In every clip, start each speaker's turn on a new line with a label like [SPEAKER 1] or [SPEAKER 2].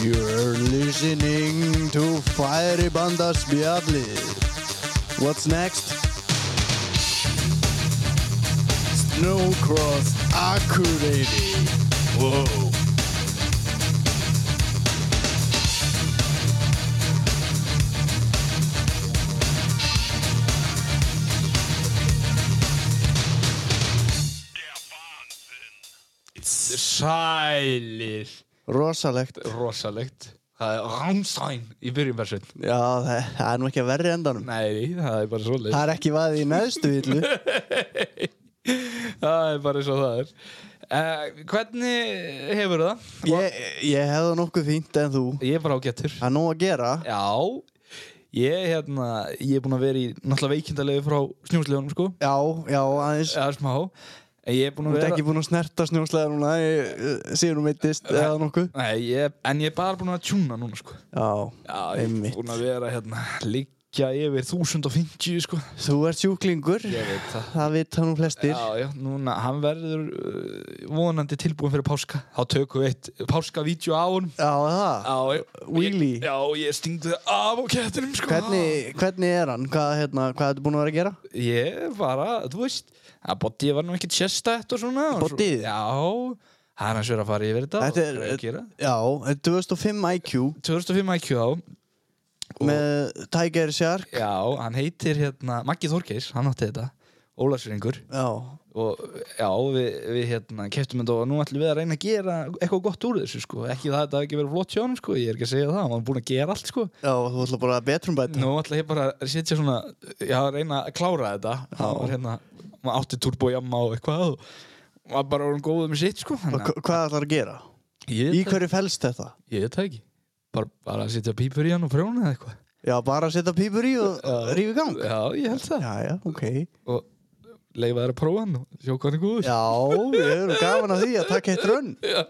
[SPEAKER 1] You're listening to Fiery Banda Spjadli. What's next? Snowcross Accuracy. Whoa.
[SPEAKER 2] Sælir
[SPEAKER 1] Rosalegt.
[SPEAKER 2] Rosalegt Það er Rammstein í byrjun persveit
[SPEAKER 1] Já, það það er nú ekki að verri endanum.
[SPEAKER 2] Nei, það er bara svolít
[SPEAKER 1] Það er ekki vaðið í neðstu villu.
[SPEAKER 2] Það er bara eins og það er uh, Hvernig hefur það?
[SPEAKER 1] Ég, ég hefði nokkuð fínt en þú.
[SPEAKER 2] Ég er bara ágættur
[SPEAKER 1] Það er nóg að gera.
[SPEAKER 2] Já Ég, hérna, ég er búinn að vera í náttúrulega veikindalegu frá snjúslegunum sko
[SPEAKER 1] Já, já, aðeins.
[SPEAKER 2] eða smá En ég er búinn
[SPEAKER 1] Þú
[SPEAKER 2] að
[SPEAKER 1] ert
[SPEAKER 2] vera
[SPEAKER 1] ekki búin að snerta snjóslega núna síðan um eittist eða nokkuð.
[SPEAKER 2] Nei, ég, En ég er bara búinn að tjúna núna sko
[SPEAKER 1] Já,
[SPEAKER 2] Já, ég er
[SPEAKER 1] einmitt.
[SPEAKER 2] búinn að vera hérna Liggja yfir 1050 sko
[SPEAKER 1] Þú ert sjúklingur.
[SPEAKER 2] Ég veit það
[SPEAKER 1] Það vita nú flestir.
[SPEAKER 2] Já, já, núna, hann verður uh, vonandi tilbúin fyrir páska Þá tökum við eitt páskavídjó á honum
[SPEAKER 1] Já, það.
[SPEAKER 2] Já, ég-
[SPEAKER 1] Wheelie.
[SPEAKER 2] ég- Já, ég stingdi það af á kettinum sko
[SPEAKER 1] Hvernig, hvernig er hann? Hvað, hérna, hvað ertu búin að vera að gera?
[SPEAKER 2] Ég bara, þú veist að Boddi var nú ekkert sérstætt og svona og svo-
[SPEAKER 1] Boddið?
[SPEAKER 2] Já, hann er sér að fara yfir þetta
[SPEAKER 1] Þetta
[SPEAKER 2] og
[SPEAKER 1] er,
[SPEAKER 2] hvað að gera.
[SPEAKER 1] já, þetta er 2005 IQ
[SPEAKER 2] 2005 IQ á
[SPEAKER 1] með Tiger Shark.
[SPEAKER 2] Já, hann heitir hérna Maggi Þorgeis, hann átti þetta Ólarsringur
[SPEAKER 1] Já,
[SPEAKER 2] og já, við, við hérna keftum þetta og nú ætlum við að reyna að gera eitthvað gott úr þessu sko, ekki það að þetta hafi ekki verið flott hjá hann sko, ég er ekki að segja það, hann var búin að gera allt sko
[SPEAKER 1] já, þú ætla bara að betrum bæta.
[SPEAKER 2] nú ætla ég bara að setja svona já, að reyna að klára þetta hann var hérna, maður átti turbo jamma og eitthvað og var bara orðin góð með sitt sko
[SPEAKER 1] Og hva- hvað ætlar að gera?
[SPEAKER 2] ég,
[SPEAKER 1] Í
[SPEAKER 2] ég,
[SPEAKER 1] hverju fælst þetta?
[SPEAKER 2] ég veit það ekki bara, bara að setja pípur í hann og prjóna eða eitthvað
[SPEAKER 1] Já, bara að setja pípur í og rífi gang.
[SPEAKER 2] já, ég held það
[SPEAKER 1] Já, já, ok.
[SPEAKER 2] og leifa þær að prófa hann og sjá hvað hann er góður
[SPEAKER 1] Já, við erum gaman að því að taka eitt rönn.
[SPEAKER 2] já,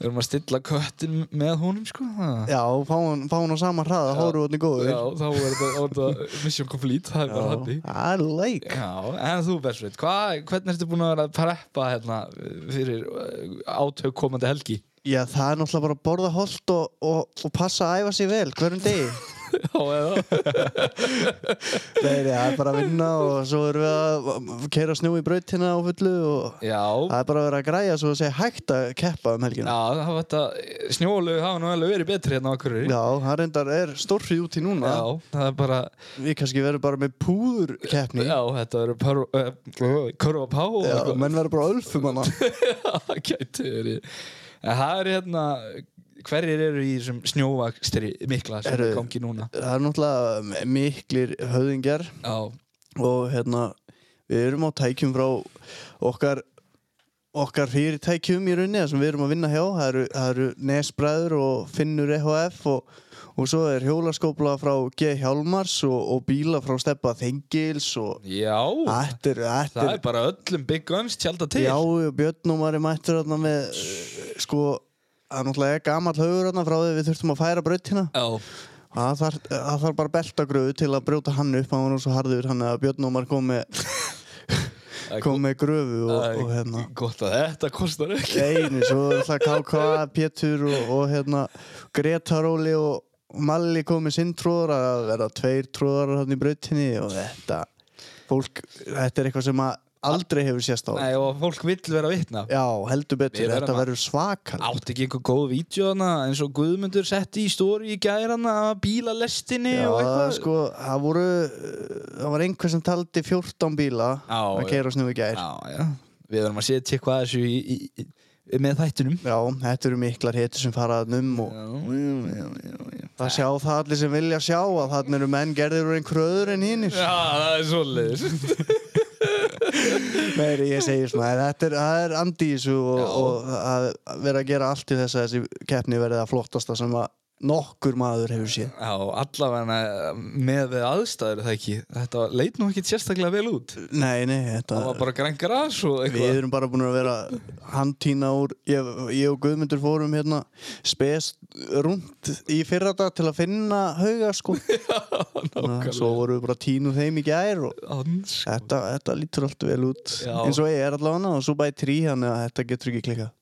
[SPEAKER 2] við erum að stilla köttin með honum sko það
[SPEAKER 1] Já, fá hann, fá hann á sama hraða, hóru hann í góður.
[SPEAKER 2] Já, þá er þetta- þá er þetta mission complete, það er bara hannig.
[SPEAKER 1] það er leik.
[SPEAKER 2] Já, en þú Bersveit, hva, hvernig ertu búin að vera að preppa hérna fyrir eh, átök komandi helgi?
[SPEAKER 1] Já, það er náttúrulega bara að borða holdt og, og, og passa að æfa sig vel hverjum degi.
[SPEAKER 2] Já, eða?
[SPEAKER 1] Nei, nei, það er bara að vinna og svo erum við að keira snjó í brautina á fullu og
[SPEAKER 2] Já,
[SPEAKER 1] það er bara að vera að græja svo að segja hægt að keppa um
[SPEAKER 2] já,
[SPEAKER 1] helgina.
[SPEAKER 2] það var þetta, snjólaug hafa nú alveg verið betri hérna á Akureyri.
[SPEAKER 1] Já, það reyndar er stórri úti núna.
[SPEAKER 2] Já, það er bara,
[SPEAKER 1] Við kannski verðum bara með púðurkeppni.
[SPEAKER 2] já, þetta eru pör, uh, körfa pá og
[SPEAKER 1] Já,
[SPEAKER 2] eitthvað.
[SPEAKER 1] menn verður bara að ölfum hana.
[SPEAKER 2] það gæti verið. En það eru hérna, hverjir eru í þessum snjóvakstri mikla sem
[SPEAKER 1] Eru-
[SPEAKER 2] er gangi núna?
[SPEAKER 1] Það er náttúrulega miklir höðingjar
[SPEAKER 2] Já,
[SPEAKER 1] og hérna, við erum á tækjum frá okkar okkar fyrirtækjum í rauninni það sem við erum að vinna hjá, það eru, það eru Nesbræður og Finnur EHF og, og svo er hjólaskópla frá G. Hjálmars og, og bíla frá Steppa Þengils og
[SPEAKER 2] já,
[SPEAKER 1] þetta er, þetta
[SPEAKER 2] það
[SPEAKER 1] er
[SPEAKER 2] er bara öllum Big Guns tjálta til.
[SPEAKER 1] já, og Björnumar er mættur þarna með, sko það er náttúrulega gammal haugur þarna frá því við þurftum að færa brautina
[SPEAKER 2] já.
[SPEAKER 1] Það þarf, það þarf bara beltagröðu til að brjóta hann upp, hann var nú svo harður hann að Björn Ómar kom með,
[SPEAKER 2] Það er
[SPEAKER 1] kom með gröfu og,
[SPEAKER 2] Það er
[SPEAKER 1] og hérna
[SPEAKER 2] Gott að þetta kostar ekki
[SPEAKER 1] einu, svo er það KK, Pétur og, og hérna Greta Róli og Malli komið sinn tróðar að vera tveir tróðar hann í brautinni og þetta fólk, þetta er eitthvað sem að aldrei hefur sést á.
[SPEAKER 2] Nei og fólk vill vera vitna
[SPEAKER 1] Já, heldur betur,
[SPEAKER 2] Við verðum
[SPEAKER 1] þetta
[SPEAKER 2] að-
[SPEAKER 1] verður svakal.
[SPEAKER 2] Átti ekki einhver góð vídjóna eins og Guðmundur setti í stóri í gærana bílalestinni
[SPEAKER 1] Já,
[SPEAKER 2] og
[SPEAKER 1] það
[SPEAKER 2] eitthvað
[SPEAKER 1] sko, það voru, það var einhver sem taldi 14 bíla
[SPEAKER 2] Já,
[SPEAKER 1] að
[SPEAKER 2] já.
[SPEAKER 1] keira snúi gær.
[SPEAKER 2] Já, já Við verðum að setja eitthvað þessu í, í, í, með þættinum
[SPEAKER 1] Já, þetta eru miklar hitur sem fara þarna um og
[SPEAKER 2] Já, já, já, já, já.
[SPEAKER 1] það sjá það allir sem vilja sjá að þarna eru menn gerðir úr einhver öður en hinnir.
[SPEAKER 2] já það er svoleiðis
[SPEAKER 1] Nei, ég segi svona, en þetta er, það er andi í þessu og,
[SPEAKER 2] Já.
[SPEAKER 1] og að vera að gera allt í þess að þessi keppni verði það flottasta sem að nokkur maður hefur séð.
[SPEAKER 2] Já, allavega með aðstæður er það ekki Þetta leit nú ekkit sérstaklega vel út
[SPEAKER 1] Nei, nei,
[SPEAKER 2] Það var
[SPEAKER 1] þetta...
[SPEAKER 2] bara græn gras og
[SPEAKER 1] Við
[SPEAKER 2] eitthvað
[SPEAKER 1] erum bara búin að vera handtína úr, ég, ég og Guðmundur fórum hérna spes rúnt í fyrradag til að finna hauga sko.
[SPEAKER 2] nákvæmlega.
[SPEAKER 1] Svo vorum við bara tínu þeim í gær og
[SPEAKER 2] Hans
[SPEAKER 1] Þetta, þetta lítur allt vel út
[SPEAKER 2] Já.
[SPEAKER 1] eins og ég er allavega og svo bætir í hann að þetta getur ekki klikað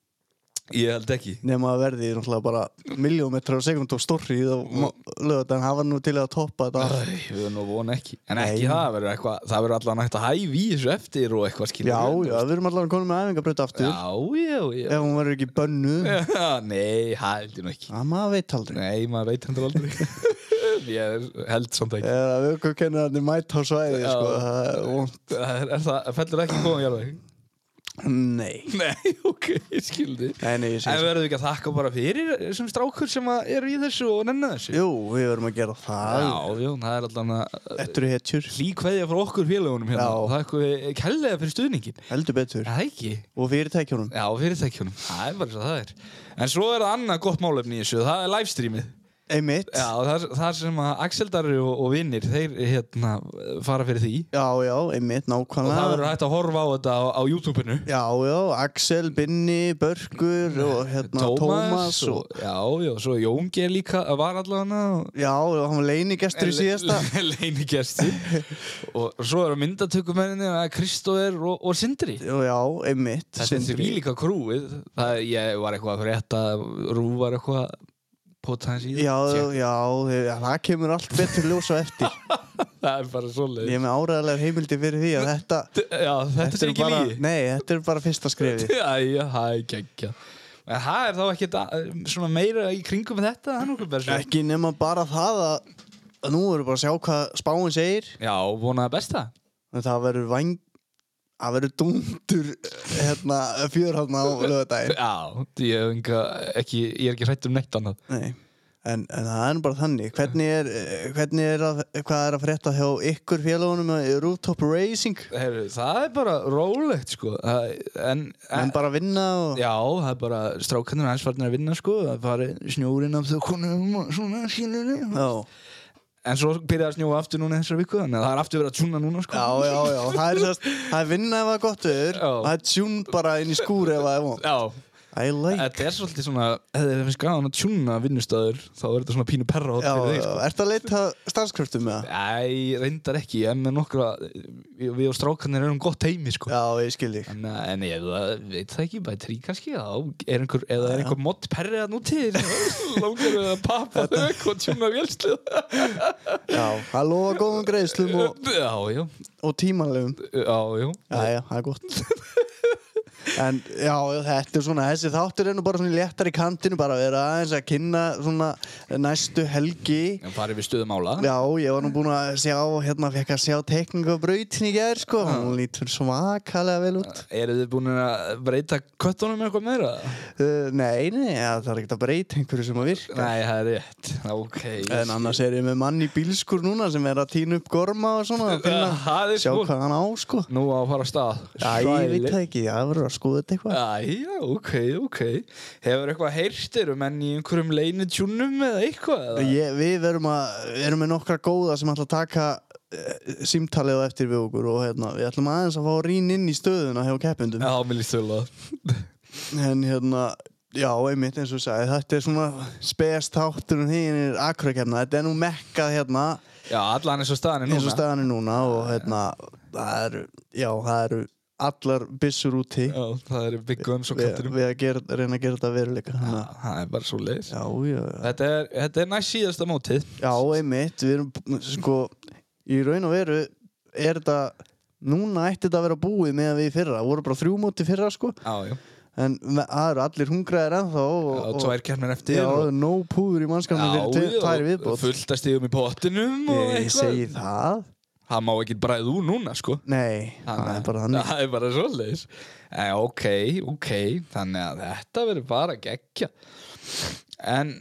[SPEAKER 2] Ég held ekki
[SPEAKER 1] nema að verði náttúrulega bara miljómetra á sekund og stórri þá
[SPEAKER 2] Mm.
[SPEAKER 1] lögat en hafa nú til að toppa þetta allt.
[SPEAKER 2] Æ, Við erum nú von ekki En
[SPEAKER 1] Nei.
[SPEAKER 2] ekki það, verður eitthvað Það verður allan hægt að hæfi í þessu eftir og eitthvað skilur
[SPEAKER 1] Já,
[SPEAKER 2] við.
[SPEAKER 1] já, við erum allavega komin með æfingabraut aftur
[SPEAKER 2] Já, já, já,
[SPEAKER 1] ef hún verður ekki bönnuð
[SPEAKER 2] já. Nei, það held ég nú ekki
[SPEAKER 1] að maður veit aldrei
[SPEAKER 2] Nei, maður veit hendur aldrei Ég held samt ekki
[SPEAKER 1] eða við okkur kennir hann í mætt á svæði
[SPEAKER 2] Já.
[SPEAKER 1] sko, það er vont.
[SPEAKER 2] Er, er það, fellur ekki góðan jarðveg?
[SPEAKER 1] Nei,
[SPEAKER 2] Nei, ok, ég skildi
[SPEAKER 1] nei, nei, ég sé
[SPEAKER 2] En verður við ekki að þakka bara fyrir þessum strákur sem að eru í þessu og nennu þessu?
[SPEAKER 1] Jú, við verðum að gera það
[SPEAKER 2] Já, já, það er allan að
[SPEAKER 1] Þetta eru hetjur,
[SPEAKER 2] hlý kveðja frá okkur félagunum hérna
[SPEAKER 1] Já.
[SPEAKER 2] og það er eitthvað kellega fyrir stuðningin
[SPEAKER 1] heldur betur
[SPEAKER 2] Er það ekki?
[SPEAKER 1] og fyrirtækjunum
[SPEAKER 2] Já, fyrirtækjunum, það er bara svo það er En svo er það annað gott málefni í þessu, það er livestreamið
[SPEAKER 1] Einmitt,
[SPEAKER 2] Já,
[SPEAKER 1] já,
[SPEAKER 2] það, það sem að Axeldari og, og vinnir, þeir hérna fara fyrir því
[SPEAKER 1] já, einmitt,
[SPEAKER 2] og það verður
[SPEAKER 1] nákvæmlega
[SPEAKER 2] hægt að horfa á þetta á, á YouTube-inu
[SPEAKER 1] Já, já, Axel, Binni, Börgur og hérna Tómas og...
[SPEAKER 2] Já, já, svo Jóngeir líka var allavega og
[SPEAKER 1] Já, já, hann var leinigestur í síðasta
[SPEAKER 2] Leinigestur og svo eru myndatökumenninni Kristóður og, og Sindri
[SPEAKER 1] Já, já, einmitt
[SPEAKER 2] Þetta er því líka krúið það, Ég var eitthvað að frétta Rú var eitthvað Pótaðins í
[SPEAKER 1] Já,
[SPEAKER 2] það
[SPEAKER 1] já, já, það kemur allt betur ljósa eftir
[SPEAKER 2] Það er bara svoleið
[SPEAKER 1] Ég er með áræðarlegar heimildi fyrir því að þetta
[SPEAKER 2] Já, þetta er ekki
[SPEAKER 1] bara,
[SPEAKER 2] lígi
[SPEAKER 1] Nei, þetta er bara fyrsta skrifi
[SPEAKER 2] Æja, það er geggja En það er þá ekki svona meira í kringum þetta það er nokkuð bara svo.
[SPEAKER 1] Ekki nema bara það að að nú erum við bara að sjá hvað spáin segir
[SPEAKER 2] Já, vonaði besta
[SPEAKER 1] en það verður vang það verður dundur hérna fjör hérna á lögadaginn
[SPEAKER 2] Já, ég, hef enga, ekki, ég er ekki hrætt um neitt annað
[SPEAKER 1] Nei, en, en það er nú bara þannig hvernig er, eh, hvernig er að, hvað er að frétta hjá ykkur félagunum í Rooftop Racing
[SPEAKER 2] Heru, Það er bara rólegt sko Það- En,
[SPEAKER 1] en bara vinna og
[SPEAKER 2] Já, það er bara strákanir aðeins farnir að vinna sko, það er farið snjórinn af þökkunum og svona skilur
[SPEAKER 1] já,
[SPEAKER 2] En svo byrjaði að snjóa aftur núna þessar viku, þannig að það er aftur verið að tjúna núna sko
[SPEAKER 1] já, já, já það er, sérst, það er vinna ef það er gott viður
[SPEAKER 2] Já.
[SPEAKER 1] og það er tjún bara inn í skúr ef það er vond
[SPEAKER 2] Já,
[SPEAKER 1] I like
[SPEAKER 2] þetta er svolítið svona, hefði þið finnst gaman að tjúna vinnustöður, þá er þetta svona pínu perra hot
[SPEAKER 1] Já,
[SPEAKER 2] fyrir þig
[SPEAKER 1] já,
[SPEAKER 2] sko
[SPEAKER 1] ertu að leita starfskröftum með það?
[SPEAKER 2] Æ, reyndar ekki, en með nokkra, við við og strákanir erum gott heimi sko
[SPEAKER 1] Já, ég skil þig
[SPEAKER 2] En, uh, en ég það- veit það ekki, bætri kannski þá er einhver, eða er einhver mott perrið að núti langar við að pappa þau og tjúna vélslið
[SPEAKER 1] Já, það lofa góðum greiðslum og,
[SPEAKER 2] Já, já,
[SPEAKER 1] og tímanlegum
[SPEAKER 2] já, já
[SPEAKER 1] Jæja, það er gott En já, þetta er svona þessi þáttur er nú bara svona léttar í kantinu bara að vera aðeins að kynna svona næstu helgi
[SPEAKER 2] En farið við stöðum ála
[SPEAKER 1] Já, ég var nú búinn að sjá hérna fekk að sjá tekningu af brautin í gær sko, hún lítur svakalega vel út
[SPEAKER 2] Eru þið búin að breyta köttunum eitthvað meira?
[SPEAKER 1] uh, Nei, nei, ja, það er ekkert að breyta einhverju sem að virka
[SPEAKER 2] Nei, það er rétt Ok
[SPEAKER 1] En annars er ég með mann í bílskur núna sem er að týna upp gorma og svona að
[SPEAKER 2] finna
[SPEAKER 1] finna,
[SPEAKER 2] Það er
[SPEAKER 1] sjá
[SPEAKER 2] sko
[SPEAKER 1] hvað hann á sko
[SPEAKER 2] Nú á að fara að stað
[SPEAKER 1] Já, ég veit það ekki, það verður að skoða þetta eitthvað
[SPEAKER 2] Æja, ok, ok Hefur eitthvað heyrtir um enn í einhverjum leinutjúnum eða eitthvað? eða?
[SPEAKER 1] Ég, við verum, að, erum með nokkra góða sem ætla að taka uh, símtalið á eftir við okkur og hérna, við ætlum aðeins að fá rín inn í stöðuna hjá keppendum
[SPEAKER 2] Já, mér líst þjóðlega
[SPEAKER 1] en hérna, já, einmitt eins og ég sagði þetta er svona spes þáttur um hinn er akkurakefna, þetta er nú mekkað hérna
[SPEAKER 2] Já, allan eins og staðan er núna
[SPEAKER 1] eins og staðan er núna og hérna, það eru, já, það eru allar byssur úti
[SPEAKER 2] Já, það eru byggum svo
[SPEAKER 1] við,
[SPEAKER 2] kattinum
[SPEAKER 1] við að gera, reyna að gera þetta að veruleika
[SPEAKER 2] Já,
[SPEAKER 1] hana.
[SPEAKER 2] það er bara svo leiðis
[SPEAKER 1] Já, já, já
[SPEAKER 2] Þetta er, þetta er næst síðasta mótið
[SPEAKER 1] Já, einmitt, við erum sko, í raun og veru er þetta, núna ætti þetta að vera búið með að við í fyrra, það voru bara þrjú móti í fyrra sko,
[SPEAKER 2] Já, já,
[SPEAKER 1] en me- það eru allir hungraðir ennþá og,
[SPEAKER 2] og tvær kemur eftir
[SPEAKER 1] já,
[SPEAKER 2] og-
[SPEAKER 1] no púður í mannskapnum fyrir tve- tvær í viðbót
[SPEAKER 2] fullt að stíðum í pottinum og
[SPEAKER 1] Ég segi það,
[SPEAKER 2] Það má ekki bræða úr núna, sko
[SPEAKER 1] nei, það er bara þannig
[SPEAKER 2] Það er bara svoleiðis e, Ok, ok, þannig að þetta verður bara geggja En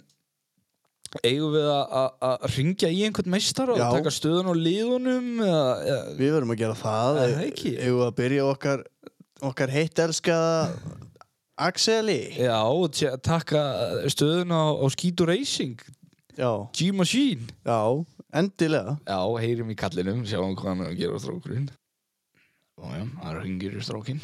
[SPEAKER 2] eigum við að- að að hringja í einhvern meistar og
[SPEAKER 1] Já.
[SPEAKER 2] taka stöðun á liðunum eða, eða,
[SPEAKER 1] Við verum að gera það,
[SPEAKER 2] Það er ekki.
[SPEAKER 1] ef við að byrja á okkar, okkar heitt elskaða Axeli,
[SPEAKER 2] Já, og tjá- taka stöðun á, á Skítur Racing
[SPEAKER 1] já,
[SPEAKER 2] G-Machine
[SPEAKER 1] já, endilega
[SPEAKER 2] Já, heyrim í kallinum, sjáum hvað hann er að gera á strókurinn Já, já, það hringir í strókinn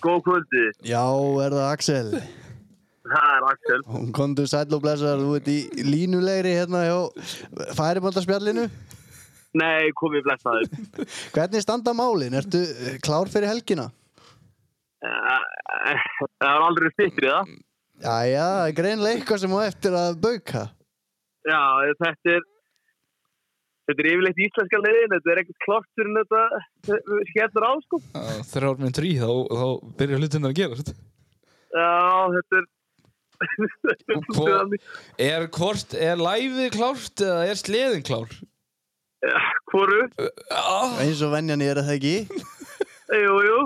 [SPEAKER 3] Góð kvöldi,
[SPEAKER 1] Já, er það Axel?
[SPEAKER 3] það er Axel.
[SPEAKER 1] Hún kondur sæll og blessar, þú ert í línulegri hérna hjá færibandarspjallinu.
[SPEAKER 3] Nei, komið blessaður.
[SPEAKER 1] Hvernig standa málin? Ertu eh, klár fyrir helgina?
[SPEAKER 3] Eh, eh, Það var aldrei stýttrið það.
[SPEAKER 1] Jæja, það er greinlega eitthvað sem á eftir að bauka.
[SPEAKER 3] Já, þetta er þetta er yfirleitt íslenska leiðin, þetta er ekkert klart fyrir en þetta skellur á, sko.
[SPEAKER 2] Þrjár minn trí, þá, þá byrjar hlutin að gera
[SPEAKER 3] Já, þetta er þetta er svolítið
[SPEAKER 2] Hvor-
[SPEAKER 3] þannig.
[SPEAKER 2] Er hvort, er læfið klárt eða er sleðin klár?
[SPEAKER 3] Eh, Hvoru?
[SPEAKER 2] Ah,
[SPEAKER 1] Eins og venjan er að það ekki.
[SPEAKER 3] Jú, jú.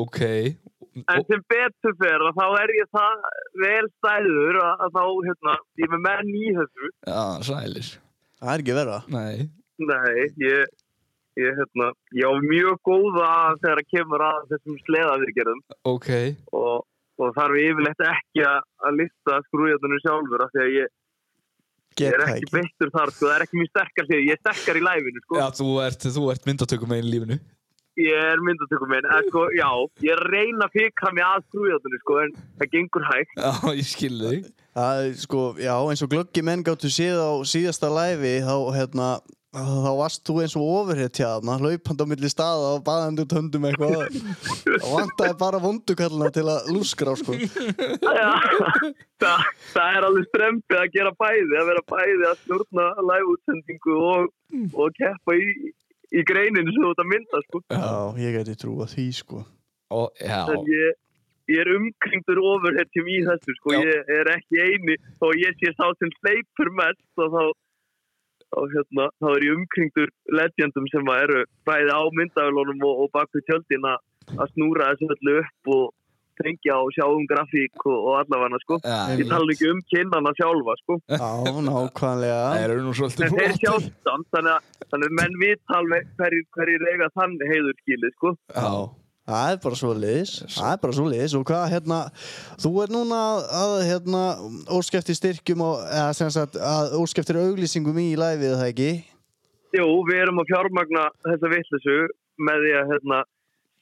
[SPEAKER 2] ok
[SPEAKER 3] En sem betur fer að þá er ég það vel stæður að, að þá, hérna, ég er með menn í þessu.
[SPEAKER 2] Já, sælir
[SPEAKER 1] Það er ekki verða.
[SPEAKER 2] Nei,
[SPEAKER 3] Nei, ég, ég, hérna, ég á mjög góða þegar að kemur að þessum sleðavirgerðum
[SPEAKER 2] ok
[SPEAKER 3] og, og þarf yfirleitt ekki að, að lista skrújarninu sjálfur af því að ég, ég
[SPEAKER 1] Get
[SPEAKER 3] er
[SPEAKER 1] það
[SPEAKER 3] ekki
[SPEAKER 1] ekki.
[SPEAKER 3] beittur þar, sko, það er ekki mjög sterkar hlið, ég er sterkar í læfinu, sko,
[SPEAKER 2] Já, þú ert, þú ert myndatökum einu lífinu
[SPEAKER 3] ég er myndatökum minn, en sko, já, ég er að reyna að fikra mig að skrújarninu, sko, en það gengur hægt,
[SPEAKER 2] Já, ég skil þig
[SPEAKER 1] Það er sko, já, eins og glöggi menn gáttu síð á síðasta læfi, þá hérna, þá varst þú eins og ofurhetja þarna, hlaupandi á milli staða og baðandi út höndum eitthvað. Það vantaði bara vondukallina til að lúskra á sko.
[SPEAKER 3] já, það, það er alveg strempið að gera bæði, að vera bæði að snurna læfútsendingu og, og keppa í, í greininu sem þú ert að mynda, sko.
[SPEAKER 1] Já, ég gæti trúa því sko.
[SPEAKER 2] Ó, Já,
[SPEAKER 3] en ég, ég er umkringdur ofurhetjum í þessu sko,
[SPEAKER 2] Já.
[SPEAKER 3] ég er ekki eini þó ég sé sá sem hleypur mest og þá, þá, hérna, þá er ég umkringdur legendum sem að eru bæði á myndavélunum og, og baku tjöldin að- að snúra þessu öllu upp og tengja og sjá um grafík og, og allavega sko.
[SPEAKER 2] Já,
[SPEAKER 3] Ég tala ekki um kynnana sjálfa sko.
[SPEAKER 1] Já, nákvæmlega.
[SPEAKER 2] Það eru nú svolítið
[SPEAKER 3] En þeir
[SPEAKER 2] flottir.
[SPEAKER 3] sjálfstand, þannig að, þannig að menn vita alveg hverjir hverjir eiga þann heiður skilið sko.
[SPEAKER 2] Já,
[SPEAKER 1] Það er bara svo liðis, það er bara svo liðis og hvað hérna, þú er núna að, að hérna, óskæftir styrkjum og, eða sem sagt, að óskæftir auglýsingum í læfið það ekki?
[SPEAKER 3] Jú, við erum að fjármagna þessa vittlisu með því að hérna,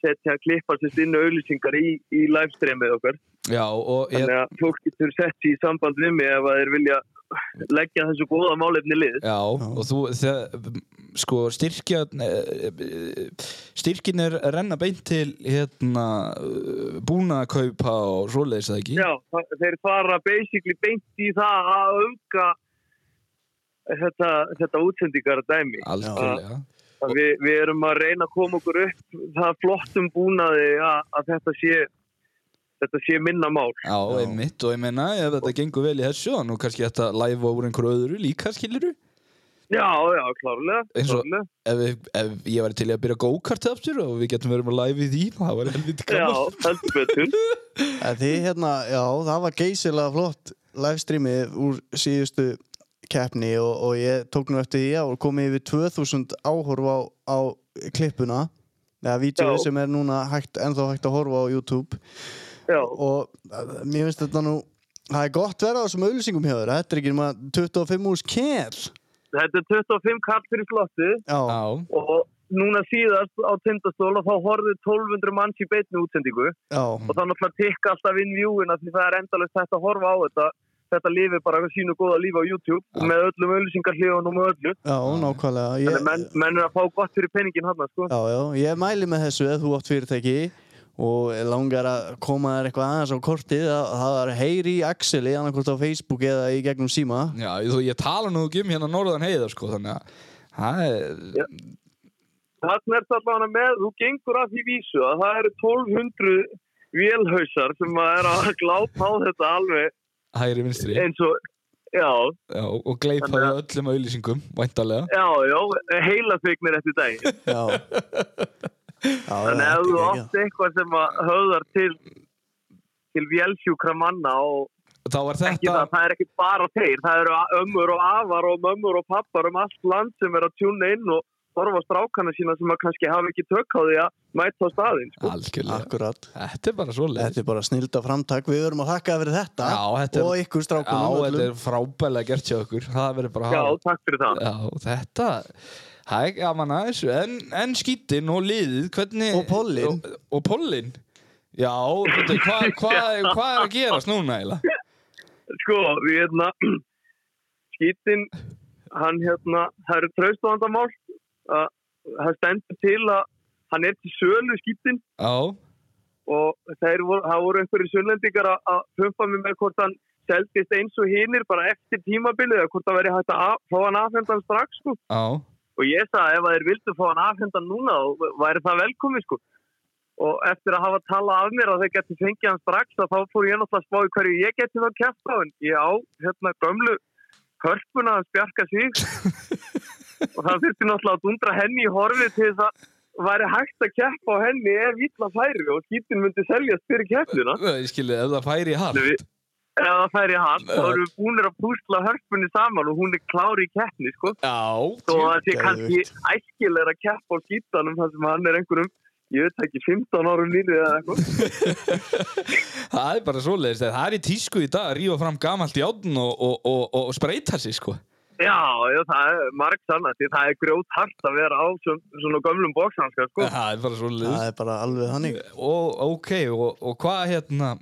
[SPEAKER 3] setja klippastist inn auðlýsingar í, í livestreamið okkar.
[SPEAKER 2] já og ég,
[SPEAKER 3] Þannig að fólk getur sett sig í samband við mig ef að þeir vilja leggja þessu góða málefni lið.
[SPEAKER 2] Já, og þú, þegar, sko, styrkja, eh, styrkin er að renna beint til, hérna, búna að kaupa og svoleiðis það ekki?
[SPEAKER 3] Já, þa- þeir fara basically beint í það að unga þetta, þetta útsendingar dæmi.
[SPEAKER 2] Algjörlega.
[SPEAKER 3] Að Við, við erum að reyna að koma okkur upp það flottum búnaði að, að þetta sé, þetta sé minna mál.
[SPEAKER 2] Já, einmitt, og ég meina, ef þetta gengur vel í þessu, þá nú kannski þetta live úr einhverju öðru líka, skiliru?
[SPEAKER 3] Já, já, klárlega.
[SPEAKER 2] Eins og-
[SPEAKER 3] klárlega.
[SPEAKER 2] Ef, við- ef ég væri til í að byrja go-kart aftur og við getum verið með live í því, það var helviti
[SPEAKER 3] Já,
[SPEAKER 2] gaman.
[SPEAKER 3] heldur betur.
[SPEAKER 1] Að Þið hérna, já, það var geysilega flott livestreamið úr síðustu keppni og, og ég tók nú eftir því að komið yfir 2000 áhorfa á, á klippuna, eða vídeo
[SPEAKER 3] Já.
[SPEAKER 1] sem er núna hægt, ennþá hægt að horfa á YouTube
[SPEAKER 3] Já,
[SPEAKER 1] og uh, mér finnst þetta nú það er gott verða á þessum auðlýsingum hjá þér þetta er ekki um að 25 úrs kell
[SPEAKER 3] þetta er 25 kall fyrir slotti
[SPEAKER 1] já,
[SPEAKER 2] Já,
[SPEAKER 3] og núna síðast á tindastól og þá horfðu 1200 manns í beitni útsendingu
[SPEAKER 1] já,
[SPEAKER 3] og þá náttúrulega tikka alltaf inn vjúina því það er endalist þetta að horfa á þetta þetta lifir bara að sínu góða lífi á YouTube
[SPEAKER 2] Já.
[SPEAKER 3] með öllum auðlýsingarlíðan og með öllu
[SPEAKER 1] já, nákvæmlega
[SPEAKER 3] þannig að menn,
[SPEAKER 1] ég,
[SPEAKER 3] menn er að fá gott fyrir peningin hann sko.
[SPEAKER 1] já, já, ég mæli með þessu ef þú átt fyrirtæki og langar að koma þér eitthvað aðeins á kortið að það er heyri í Axeli annarkvort á Facebook eða í gegnum síma
[SPEAKER 2] já, þú, ég tala nú ekki um hérna norðan heiða, sko, þannig að, það er,
[SPEAKER 3] Já. þannig er þetta allavega með þú gengur að því vísu að það eru 1200 vélhausar sem að er að glápa á þetta alveg
[SPEAKER 2] hægri vinstri.
[SPEAKER 3] eins og já,
[SPEAKER 2] Já, og gleipaði
[SPEAKER 3] Þannig
[SPEAKER 2] öllum auðlýsingum, væntalega.
[SPEAKER 3] já, já, heilasveiknir eftir daginn
[SPEAKER 1] já, já
[SPEAKER 3] Þannig
[SPEAKER 1] já,
[SPEAKER 3] ef þú
[SPEAKER 1] ekki,
[SPEAKER 3] átt eitthvað sem að höðar til til vélsjúkra manna og
[SPEAKER 2] Þá var
[SPEAKER 3] ekki
[SPEAKER 2] þetta,
[SPEAKER 3] það, það er ekki bara þeir, það eru ömmur og afar og mömmur og pappar um allt land sem er að tjúna inn og horfa á strákana sína sem að kannski hafa ekki tök á því að mæta á staðinn. Sko.
[SPEAKER 1] ekki.
[SPEAKER 2] algjörlega,
[SPEAKER 1] akkurat
[SPEAKER 2] þetta er bara svo leið.
[SPEAKER 1] Þetta er bara snilda framtak, við verum að þakka fyrir þetta
[SPEAKER 2] Já, þetta er-
[SPEAKER 1] og ykkur
[SPEAKER 2] Já,
[SPEAKER 1] strákunum
[SPEAKER 2] þetta er frábælega gert hjá okkur, það verður bara að
[SPEAKER 3] Já,
[SPEAKER 2] hafa.
[SPEAKER 3] takk fyrir það.
[SPEAKER 2] Já, þetta, það er gaman aðeins, en, en skítin og liðið, hvernig...
[SPEAKER 1] Og pollinn.
[SPEAKER 2] Og, og pollin. Já, veitu, hvað hva, hva, hva er að gerast núna eiginlega?
[SPEAKER 3] Sko, við hérna, skýtin, hann hérna, það eru traustvandamál að það stendur til að hann er til sölu skiptin
[SPEAKER 2] Já,
[SPEAKER 3] og þeir voru, það voru einhverju sunnlendingar að- að pumpa mig með hvort hann seldist eins og hinnir bara eftir tímabilið eða hvort það væri hægt að af- fá hann afhendan strax sko.
[SPEAKER 2] já,
[SPEAKER 3] og ég sagði ef að þeir vildu fá hann afhendan núna þá væri það velkomið sko. og eftir að hafa talað af mér að þeir geti fengið hann strax þá þá fór ég náttúrulega að spá í hverju ég geti þá kæft á hann ég á hérna gömlu hörpuna að spjarka sig og það þurfti náttúrulega að dundra henni í horfið til þess að væri hægt að keppa á henni ef illa færi og skýtin myndi seljast fyrir keppnina
[SPEAKER 2] ég skilið, ef það færi hart
[SPEAKER 3] Nei, við- ef það færi hann þá erum við búinir að púsla hörpunni saman og hún er klári í keppni sko
[SPEAKER 2] Já,
[SPEAKER 3] og það sé
[SPEAKER 1] Geðveikt.
[SPEAKER 3] kannski æskilega að keppa á skýtanum þar sem hann er einhverjum ég veit ekki 15 árum nýrið eða eitthvað
[SPEAKER 2] það er bara svoleiðist Það er í tísku í dag að rífa fram gamalt játn og, og, og, og, og spreita sig sko
[SPEAKER 3] já, já, það er marg sann því það er grjót hart að vera á svona, svona gömlum bóksanska sko
[SPEAKER 2] Það er bara svoleiðist
[SPEAKER 1] það er bara alveg hannig
[SPEAKER 2] og, Ok, og, og hvað hérna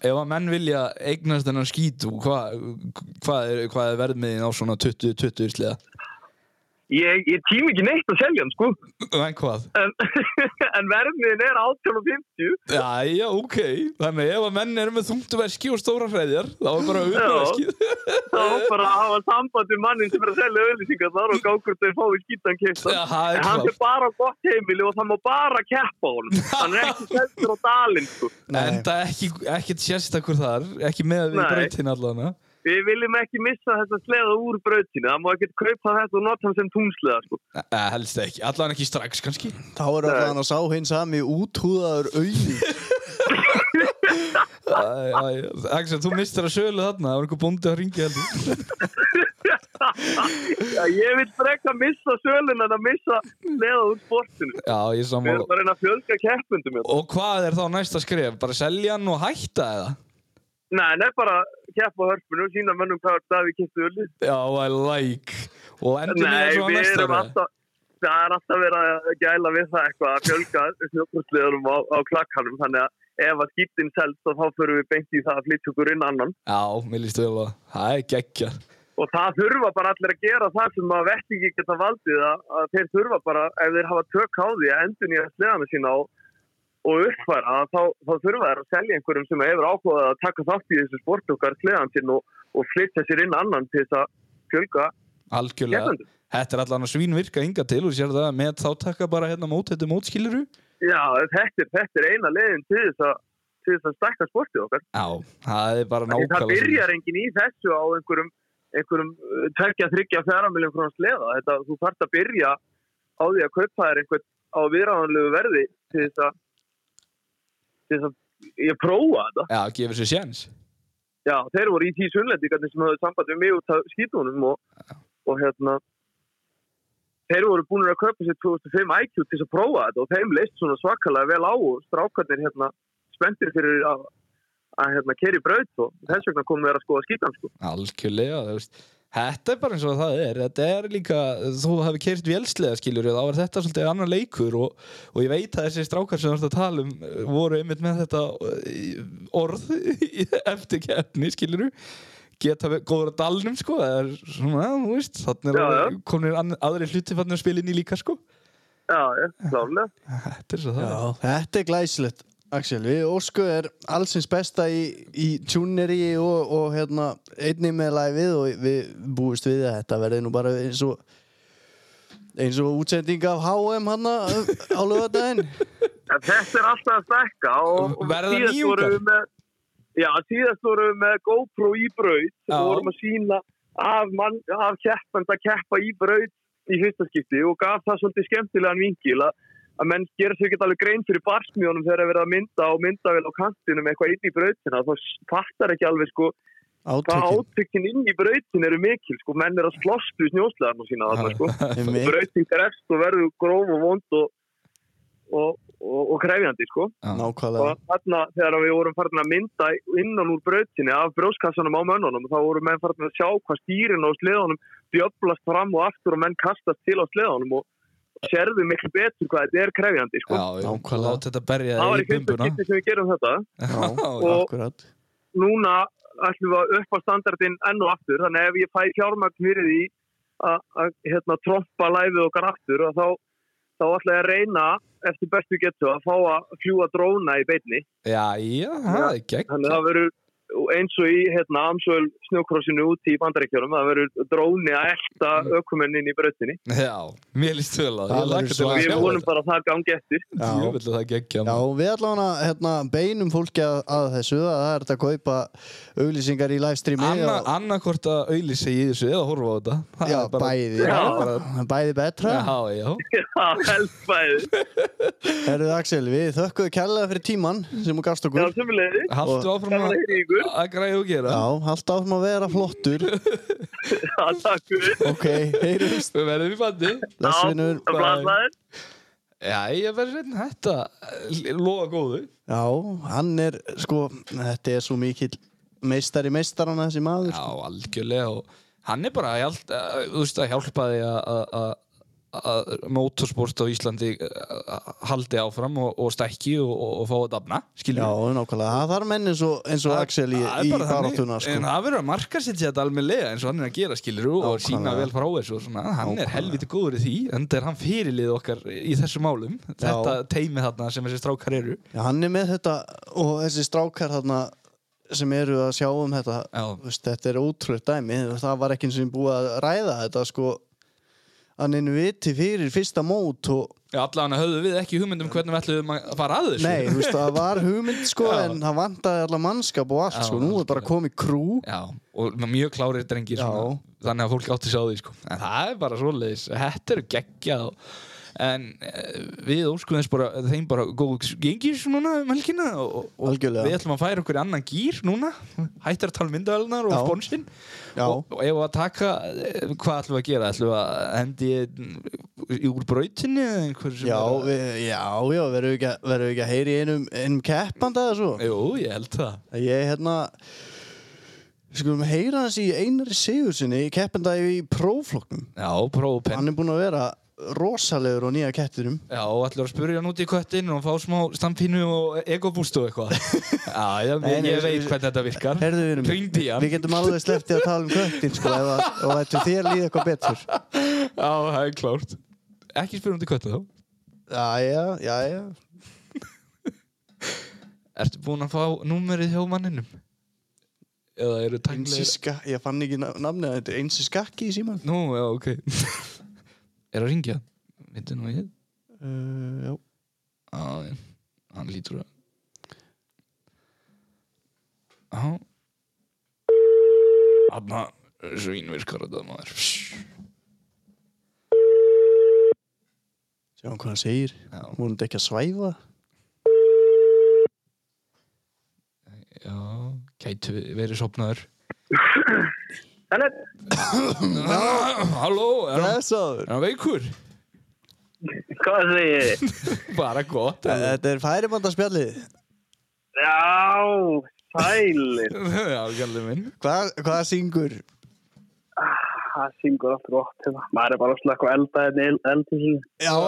[SPEAKER 2] Ef að menn vilja eignast þennan skít og hvað hva er, hva er verðmiðin á svona 20-20 írsliða?
[SPEAKER 3] ég, ég tím ekki neitt að selja hann sko
[SPEAKER 2] En hvað?
[SPEAKER 3] en, en verðmiðin er 18.50
[SPEAKER 2] Jæja, ok. Þannig ef að menn eru með þungtuverski og stóra hreðjar, þá er bara uppverskið.
[SPEAKER 3] þá bara að hafa samband við mannin sem er að selja auðlýsingar þar og gákur þau fáið skýtan kipta
[SPEAKER 2] Já, það er
[SPEAKER 3] en hann
[SPEAKER 2] klárt.
[SPEAKER 3] er bara á gott heimili og það má bara keppa á honum hann er ekki seldur á dalinn sko.
[SPEAKER 1] Nei.
[SPEAKER 2] Enda ekki, ekkert sérstakur þar, ekki með við
[SPEAKER 3] Nei.
[SPEAKER 2] breytin allavega.
[SPEAKER 3] við viljum ekki missa þessa sleða úr brautinu það má ekki kaupa þetta og nota hann sem túnsleða sko.
[SPEAKER 2] Eh, helst ekki, allavega ekki strax kannski.
[SPEAKER 1] Þá er alltaf hann að sá hinn sami úthúðaður auði
[SPEAKER 2] Axel, þú mistir að sölu þarna, það var einhver bóndi að ringi heldur.
[SPEAKER 3] Já, ég vil frekka missa sölun en að missa sleða úr sportinu
[SPEAKER 2] Já, ég er
[SPEAKER 3] við erum
[SPEAKER 2] sammála.
[SPEAKER 3] bara að reyna að fjölga keppundum hérna.
[SPEAKER 2] Og hvað er þá næsta skref? Bara selja hann og hætta eða?
[SPEAKER 3] nei, en er bara að keppa á hörpunum og sína mönnum hvað er Davík kiptu öllu
[SPEAKER 2] Já, I like. Og endur
[SPEAKER 3] Nei,
[SPEAKER 2] niður svo á
[SPEAKER 3] við
[SPEAKER 2] næsta
[SPEAKER 3] erum
[SPEAKER 2] ári?
[SPEAKER 3] alltaf það er alltaf verið að gæla við það eitthvað að fjölga sjókursliðurum á, á klakkanum þannig að ef að skiptin selst og þá förum við beint í það að flytja okkur inn annan
[SPEAKER 2] Já, mér líst vel að það er geggjar.
[SPEAKER 3] og það þurfa bara allir að gera það sem að vettingi geta valdið að, að þeir þurfa bara ef þeir hafa tök á því að endun í að sleðana sína og, og uppfæra að þá, þá þurfa þeir að selja einhverjum sem hefur ákvaðað að taka þátt í þessu sport okkar sleðan sín og, og flytja sér inn annan til þess að fjölga
[SPEAKER 2] Algjörlega.
[SPEAKER 3] Gerðandi.
[SPEAKER 2] Þetta er allan að svínvirka ynga til og sér það með þáttakka bara hérna mót, þetta mót skiliru.
[SPEAKER 3] Já, þetta er, þetta er eina leiðin til þess að, til þess að stakka sportið okkar.
[SPEAKER 2] Já, það er bara
[SPEAKER 3] Því
[SPEAKER 2] nákvæmlega.
[SPEAKER 3] Það byrjar enginn í þessu á einhverjum, einhverjum uh, tveggja, þryggja, fjara miljón krónar sleða. Þetta, þú þarft að byrja á því að kaupa þér einhvern á viðræðanlegu verði til þess að, til þess að ég prófa þetta.
[SPEAKER 2] Já, gefur sér séns.
[SPEAKER 3] Já, þeir voru í tíu sunnlendingarnir sem höfðu samband við mig út af skítunum og, og hérna þeir voru búin að kaupa sér 2005 IQ til þess að prófa þetta og þeim leist svona svakalega vel á og strákarnir hérna spenntir fyrir að, að hérna keri braut og þess vegna komum þeir að skoða skítan sko.
[SPEAKER 2] Algjörlega, þú veist. Þetta er bara eins og það er. Þetta er líka, þú hefur kert vélslega skilur þá er þetta svolítið annar leikur og, og ég veit að þessi strákar sem þú ert að tala um eh, voru einmitt með þetta eh, orð í- eftir keppni skilur geta verið góður að dalnum sko það er svona, þú veist, þannig
[SPEAKER 3] Já,
[SPEAKER 2] er komin aðri hluti fannir að spila inn í líka sko
[SPEAKER 3] Já, já, klálega.
[SPEAKER 2] Þetta er svo það er.
[SPEAKER 1] Já, þetta er glæsilegt Axel, við ósku er allsins besta í, í tjúneri og, og hérna, einnig með læfið og við búist við að þetta verði nú bara eins og eins og útsending af HM hana á lögadaginn
[SPEAKER 3] En þetta er alltaf að stakka og, og
[SPEAKER 2] Verða
[SPEAKER 3] síðast
[SPEAKER 2] nýjungar?
[SPEAKER 3] vorum við með, já, síðast vorum við með GoPro í braut
[SPEAKER 2] Já.
[SPEAKER 3] og vorum að sína af, mann, af keppand að keppa í braut í fyrsta skipti og gaf það svolítið skemmtilegan vingil að, að menn gera sér ekki alveg grein fyrir barsmjónum þegar að vera að mynda og mynda vel á kantinum eitthvað inn í brautina þá s- fattar ekki alveg sko hvað
[SPEAKER 1] átökin
[SPEAKER 3] átökin inn í brautin eru mikil sko, menn er að slostu snjóslegarnu sína þarna sko
[SPEAKER 1] um mig.
[SPEAKER 3] brautin grefst og sko, verður gróf og vond og, og, og, og krefjandi sko
[SPEAKER 1] nákvæmlega
[SPEAKER 3] og þarna þegar við vorum farin að mynda innan úr brautinni af brjóskassanum á mönnunum þá vorum menn farin að sjá hvað stýrin á sleðunum djöblast fram og aftur og menn kastast til á sleðunum og sérðu miklu betur hvað þetta er krefjandi sko.
[SPEAKER 2] Já, ég
[SPEAKER 1] Nákvæmlega.
[SPEAKER 2] láta þetta berja
[SPEAKER 3] það var
[SPEAKER 2] þig í
[SPEAKER 3] í fyrsta
[SPEAKER 2] bumbuna
[SPEAKER 3] skipti sem við gerum þetta
[SPEAKER 1] Já,
[SPEAKER 2] Já,
[SPEAKER 3] Og-
[SPEAKER 1] akkurat
[SPEAKER 3] núna ætlum við að uppa standardin enn og aftur þannig að ef ég fæ fjármagn fyrir því að að, hérna, trompa læfið okkar aftur og þá, þá ætla ég að reyna eftir bestu getu að fá að fljúa dróna í beinni
[SPEAKER 2] já, já, það er gegn
[SPEAKER 3] þannig að það verður eins og í hérna, Amsvöld snjókrossinu úti í bandaríkjörum það verður dróni að elta ökumennin í brautinni
[SPEAKER 2] já, mér líst vel á það,
[SPEAKER 1] Það
[SPEAKER 2] ég laka
[SPEAKER 1] verður
[SPEAKER 2] til
[SPEAKER 1] svo-
[SPEAKER 2] að
[SPEAKER 3] við
[SPEAKER 2] sjá
[SPEAKER 3] vonum
[SPEAKER 2] þetta
[SPEAKER 3] bara að það gangi eftir
[SPEAKER 2] ég vil að það gegja
[SPEAKER 1] Já, við allavega hérna, beinum fólki að, að þessu að það er hægt að kaupa auglýsingar í livestreami og-
[SPEAKER 2] annarkvort að auðlýsa í þessu eða horfa á þetta Það
[SPEAKER 1] Já,
[SPEAKER 2] er bara-
[SPEAKER 1] bæði,
[SPEAKER 2] Já, bara,
[SPEAKER 1] bæði betra
[SPEAKER 2] já, já,
[SPEAKER 3] já, helst bæði
[SPEAKER 1] Herðu Axel, við þökkum kærlega fyrir tíman sem þú gafst
[SPEAKER 3] já,
[SPEAKER 1] okkur
[SPEAKER 3] sömulegði
[SPEAKER 2] haldu áfram
[SPEAKER 3] gaman að
[SPEAKER 2] að
[SPEAKER 3] heyra í ykkur
[SPEAKER 2] að græja og gera
[SPEAKER 1] Já, haldt áfram að vera flottur
[SPEAKER 3] já, takk fyrir
[SPEAKER 1] Ok, heyrjumst,
[SPEAKER 2] við verðum í bandi
[SPEAKER 1] lesvinur
[SPEAKER 3] Já, það
[SPEAKER 2] Bye.
[SPEAKER 3] blæðir
[SPEAKER 2] já, ég verður sveitn þetta eh, lofa góðu
[SPEAKER 1] Já, hann er, sko, þetta er svo mikill meistari meistarana þessi maður
[SPEAKER 2] Já, algjörlega og hann er bara að, hjálp, að, þú veist, að hjálpa því að- að að- að motorsport á Íslandi eh, haldi áfram og, og stækki og, og, og fá að dafna
[SPEAKER 1] Já,
[SPEAKER 2] skiljum
[SPEAKER 1] nákvæmlega, það þarf menn eins og, eins og Axel í, í baráttuna sko.
[SPEAKER 2] en það verður að marka sér þetta almennilega eins og hann er að gera skilur og
[SPEAKER 1] Nákvæmlega.
[SPEAKER 2] sína vel frá þessu og svona, hann er
[SPEAKER 1] Nákvæmlega.
[SPEAKER 2] helviti góður í því en það er hann fyrirlið okkar í þessu málum þetta teimi þarna sem þessi strákar eru
[SPEAKER 1] Já, hann er með þetta og þessi strákar þarna sem eru að sjá um þetta
[SPEAKER 2] Já.
[SPEAKER 1] Þú veist, þetta er ótrúlega dæmi þú veist, það var ekki eins og búið að ræða þetta sko hann einu viti fyrir fyrsta mót og
[SPEAKER 2] Já, allan höfðu við ekki hugmyndum hvernig við ætluðum að fara að þessu
[SPEAKER 1] nei, þú veist, það var hugmynd sko
[SPEAKER 2] Já.
[SPEAKER 1] en það vantaði allar mannskap og allt
[SPEAKER 2] Já,
[SPEAKER 1] sko, nú er bara
[SPEAKER 2] algjörlega.
[SPEAKER 1] komið krú
[SPEAKER 2] Já, og mjög klárir drengir
[SPEAKER 1] Já.
[SPEAKER 2] svona, þannig að fólk átti sig á því sko. en það er bara svoleiðis, þetta eru geggjað og, en eh, við óskum þess bara, þeim bara góð gengis núna um helgina og, og
[SPEAKER 1] Algjörlega.
[SPEAKER 2] við ætlum að færa okkur í annan gýr núna hættar að tala myndavelnar og
[SPEAKER 1] Já.
[SPEAKER 2] sponsinn
[SPEAKER 1] Já.
[SPEAKER 2] og, og ef að taka eh, hvað ætlum við að gera, ætlum við að hendi ég úr brautinni eða einhver sem
[SPEAKER 1] já,
[SPEAKER 2] er að-
[SPEAKER 1] við, já, já, verðum við ekki, að- verðum við ekki að heyri einum, einum keppanda eða svo
[SPEAKER 2] Jú, ég held það
[SPEAKER 1] ég hérna skulum heyra hans í einari sigur sinni keppanda í prófloknum
[SPEAKER 2] Já, prófpenn
[SPEAKER 1] Hann er búinn að vera rosalegur og nýja kettinum.
[SPEAKER 2] Já, og ætlar að spurja hann út í köttin og fá smá stampínu og egobúst og eitthvað. Já, ég,
[SPEAKER 1] Nei, nei,
[SPEAKER 2] ég veit
[SPEAKER 1] við-
[SPEAKER 2] hvernig þetta virkar.
[SPEAKER 1] Herðu við
[SPEAKER 2] Hringdu í hann.
[SPEAKER 1] Við getum alveg sleppti að tala um köttin, sko, ef að, og lættu þér líða eitthvað betur.
[SPEAKER 2] Já, það er klárt. Ekki spyrja út í köttin þá.
[SPEAKER 1] Jæja, jæja.
[SPEAKER 2] Ertu búinn að fá númerið hjá manninum? Eða eru
[SPEAKER 1] Einsi
[SPEAKER 2] tæmlega...
[SPEAKER 1] skakki, ég fann ekki na- nafnið að þetta er einsi skakki í síman.
[SPEAKER 2] Nú, já, ok. er að ringja? Vindu nú ég?
[SPEAKER 1] Uh, já.
[SPEAKER 2] Já, já. hann lítur að... Já. Hanna, svínvirkar þetta maður.
[SPEAKER 1] Sjáum hvað hann segir.
[SPEAKER 2] Já.
[SPEAKER 1] Hún er ekki að svæfa.
[SPEAKER 2] Já, gætu verið sopnaður
[SPEAKER 3] Hello.
[SPEAKER 2] Halló, er hann,
[SPEAKER 1] Blessaður.
[SPEAKER 2] er hann veikur?
[SPEAKER 3] hvað segir þið?
[SPEAKER 2] Bara gott eða?
[SPEAKER 1] Eh, Þetta er færibandarspjallið.
[SPEAKER 3] já, sælir
[SPEAKER 2] Já, gæli minn
[SPEAKER 1] Hvað, hvað syngur?
[SPEAKER 3] það syngur allt gott hérna. maður er bara að slökka elda hérna en eldi
[SPEAKER 1] Já,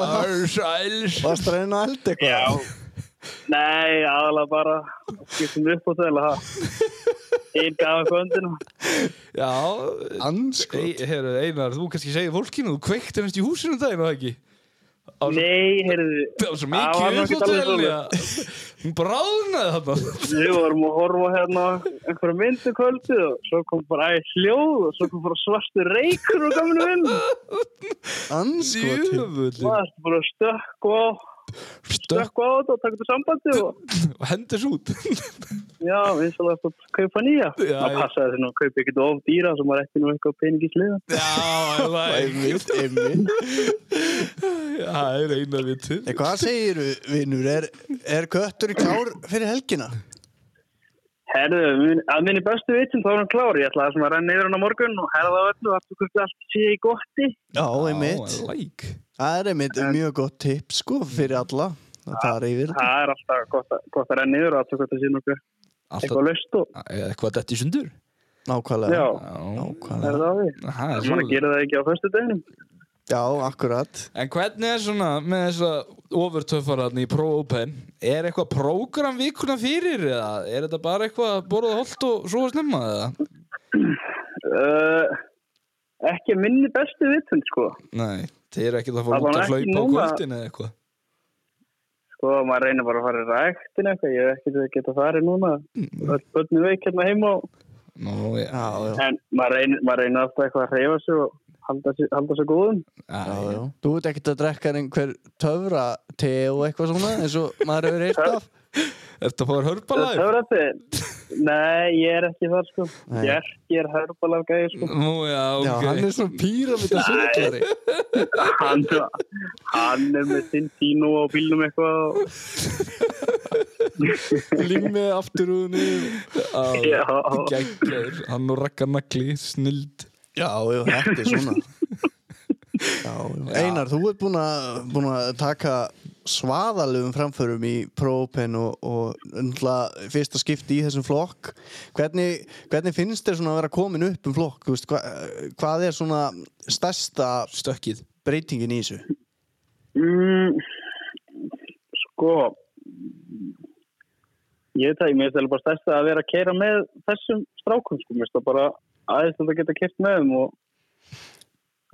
[SPEAKER 2] Sæls
[SPEAKER 1] varst að reyna að elda
[SPEAKER 3] já,
[SPEAKER 1] eitthvað?
[SPEAKER 3] nei, aðalega bara skiptum upp og þegar það einn gaf upp öndina
[SPEAKER 2] Já,
[SPEAKER 1] Anskot.
[SPEAKER 2] Ei- heyrðu, Einar, þú kannski segir fólkinu Þú kveiktir hans í húsinu um daginn og ekki Á svo-
[SPEAKER 3] nei, heyrðu
[SPEAKER 2] Það var svo
[SPEAKER 3] Það
[SPEAKER 2] mikið
[SPEAKER 3] var nú ekki alveg
[SPEAKER 2] uppátæli Hún bráðnaði þarna
[SPEAKER 3] við vorum að horfa hérna á einhverja myndu kvöldu og svo kom bara aðeins hljóð og svo kom bara svartu reykur og gaminu vinn
[SPEAKER 1] Anskot.
[SPEAKER 2] Djöfullin
[SPEAKER 3] maður er bara að stökku á
[SPEAKER 2] Stökk
[SPEAKER 3] stökku á þetta og taka þetta sambandi og
[SPEAKER 2] og hendis út
[SPEAKER 3] Já, við svolítið eftir að kaupa nýja.
[SPEAKER 2] Já,
[SPEAKER 3] Það
[SPEAKER 2] já.
[SPEAKER 3] passaði þess að kaupa ekkert of dýra sem var ekki nú eitthvað pening í sliða.
[SPEAKER 2] Já, það er
[SPEAKER 1] Einmitt, einmitt.
[SPEAKER 2] Já, Það er eina vitið
[SPEAKER 1] Nei, hvað segir vinnur? Er, er köttur klár fyrir helgina?
[SPEAKER 3] Herðu, mun- að minni bestu vitin þá er hann klár. Ég ætlaði svona að renna yfir hann á morgun og herða á öllu aftur hvort allt sé í gotti.
[SPEAKER 1] Já, einmitt.
[SPEAKER 2] Já, I like
[SPEAKER 1] Það er einmitt mjög gott tipp, sko, fyrir alla. að fara yfir.
[SPEAKER 3] Það er alltaf gott, að- gott að renna yfir og aftur hvort það sé nokkuð
[SPEAKER 2] Alltaf
[SPEAKER 3] eitthvað löst og
[SPEAKER 2] Eða eitthvað dætt í sundur
[SPEAKER 1] Nákvæmlega.
[SPEAKER 3] já,
[SPEAKER 1] Nákvæmlega.
[SPEAKER 3] herða á því.
[SPEAKER 2] Það er
[SPEAKER 3] Svona
[SPEAKER 2] svolítið
[SPEAKER 3] gerir það ekki á föstu deginum.
[SPEAKER 1] Já, akkurat.
[SPEAKER 2] En hvernig er svona með þessa ofurtöffararni í Pro Open Er eitthvað prógram vikuna fyrir eða er þetta bara eitthvað borðað holt og svo snemma eða?
[SPEAKER 3] Uh, ekki að minni bestu vitund sko
[SPEAKER 2] Nei, þeir eru ekkert að fara út
[SPEAKER 3] Það var
[SPEAKER 2] að
[SPEAKER 3] ekki
[SPEAKER 2] hlaupa á
[SPEAKER 3] núna.
[SPEAKER 2] kvöldin eða eitthvað
[SPEAKER 3] sko, maður reynir bara að fara í ræktin eitthvað, ég hef ekkert að geta farið núna
[SPEAKER 2] Mm.
[SPEAKER 3] öll börnum veik hérna heima og,
[SPEAKER 2] Nú, já,
[SPEAKER 1] já,
[SPEAKER 3] en maður reynir, maður reynir alltaf eitthvað að reyfa sig og halda, sig- halda sig góðum
[SPEAKER 1] já,
[SPEAKER 2] já, já.
[SPEAKER 1] já. Þú ert ekkert að drekka einhver töfra te og eitthvað svona eins og maður hefur eitt af
[SPEAKER 2] Ertu að fara hörbalæg?
[SPEAKER 3] Töfratið? Nei, ég er ekki þar sko
[SPEAKER 1] Nei.
[SPEAKER 3] Ég er, ég er herbalaf gæði sko
[SPEAKER 2] Nú, já, ok
[SPEAKER 1] Já, hann er svona píramid að sögurkjari
[SPEAKER 3] hann, hann er með sinn tínu á bílnum eitthvað og,
[SPEAKER 1] Limmið afturúðinu
[SPEAKER 2] Já,
[SPEAKER 3] já,
[SPEAKER 2] Gækjaður, hann og rakka nagli, snild
[SPEAKER 1] Já, já, þetta er svona Já, já. Einar, þú ert búinn að, búin að taka svaðalugum framförum í Pro-Open og, og undla, fyrsta skipti í þessum flokk hvernig, hvernig finnst þér svona að vera komin upp um flokk Þú veist, hva, hvað er svona stærsta
[SPEAKER 2] Stökkið
[SPEAKER 1] breytingin í þessu?
[SPEAKER 3] mm, sko ég veit það, ég mér stæði bara stærsta að vera að keira með þessum strákum sko, mér stæði bara aðeins að geta keirt með þeim og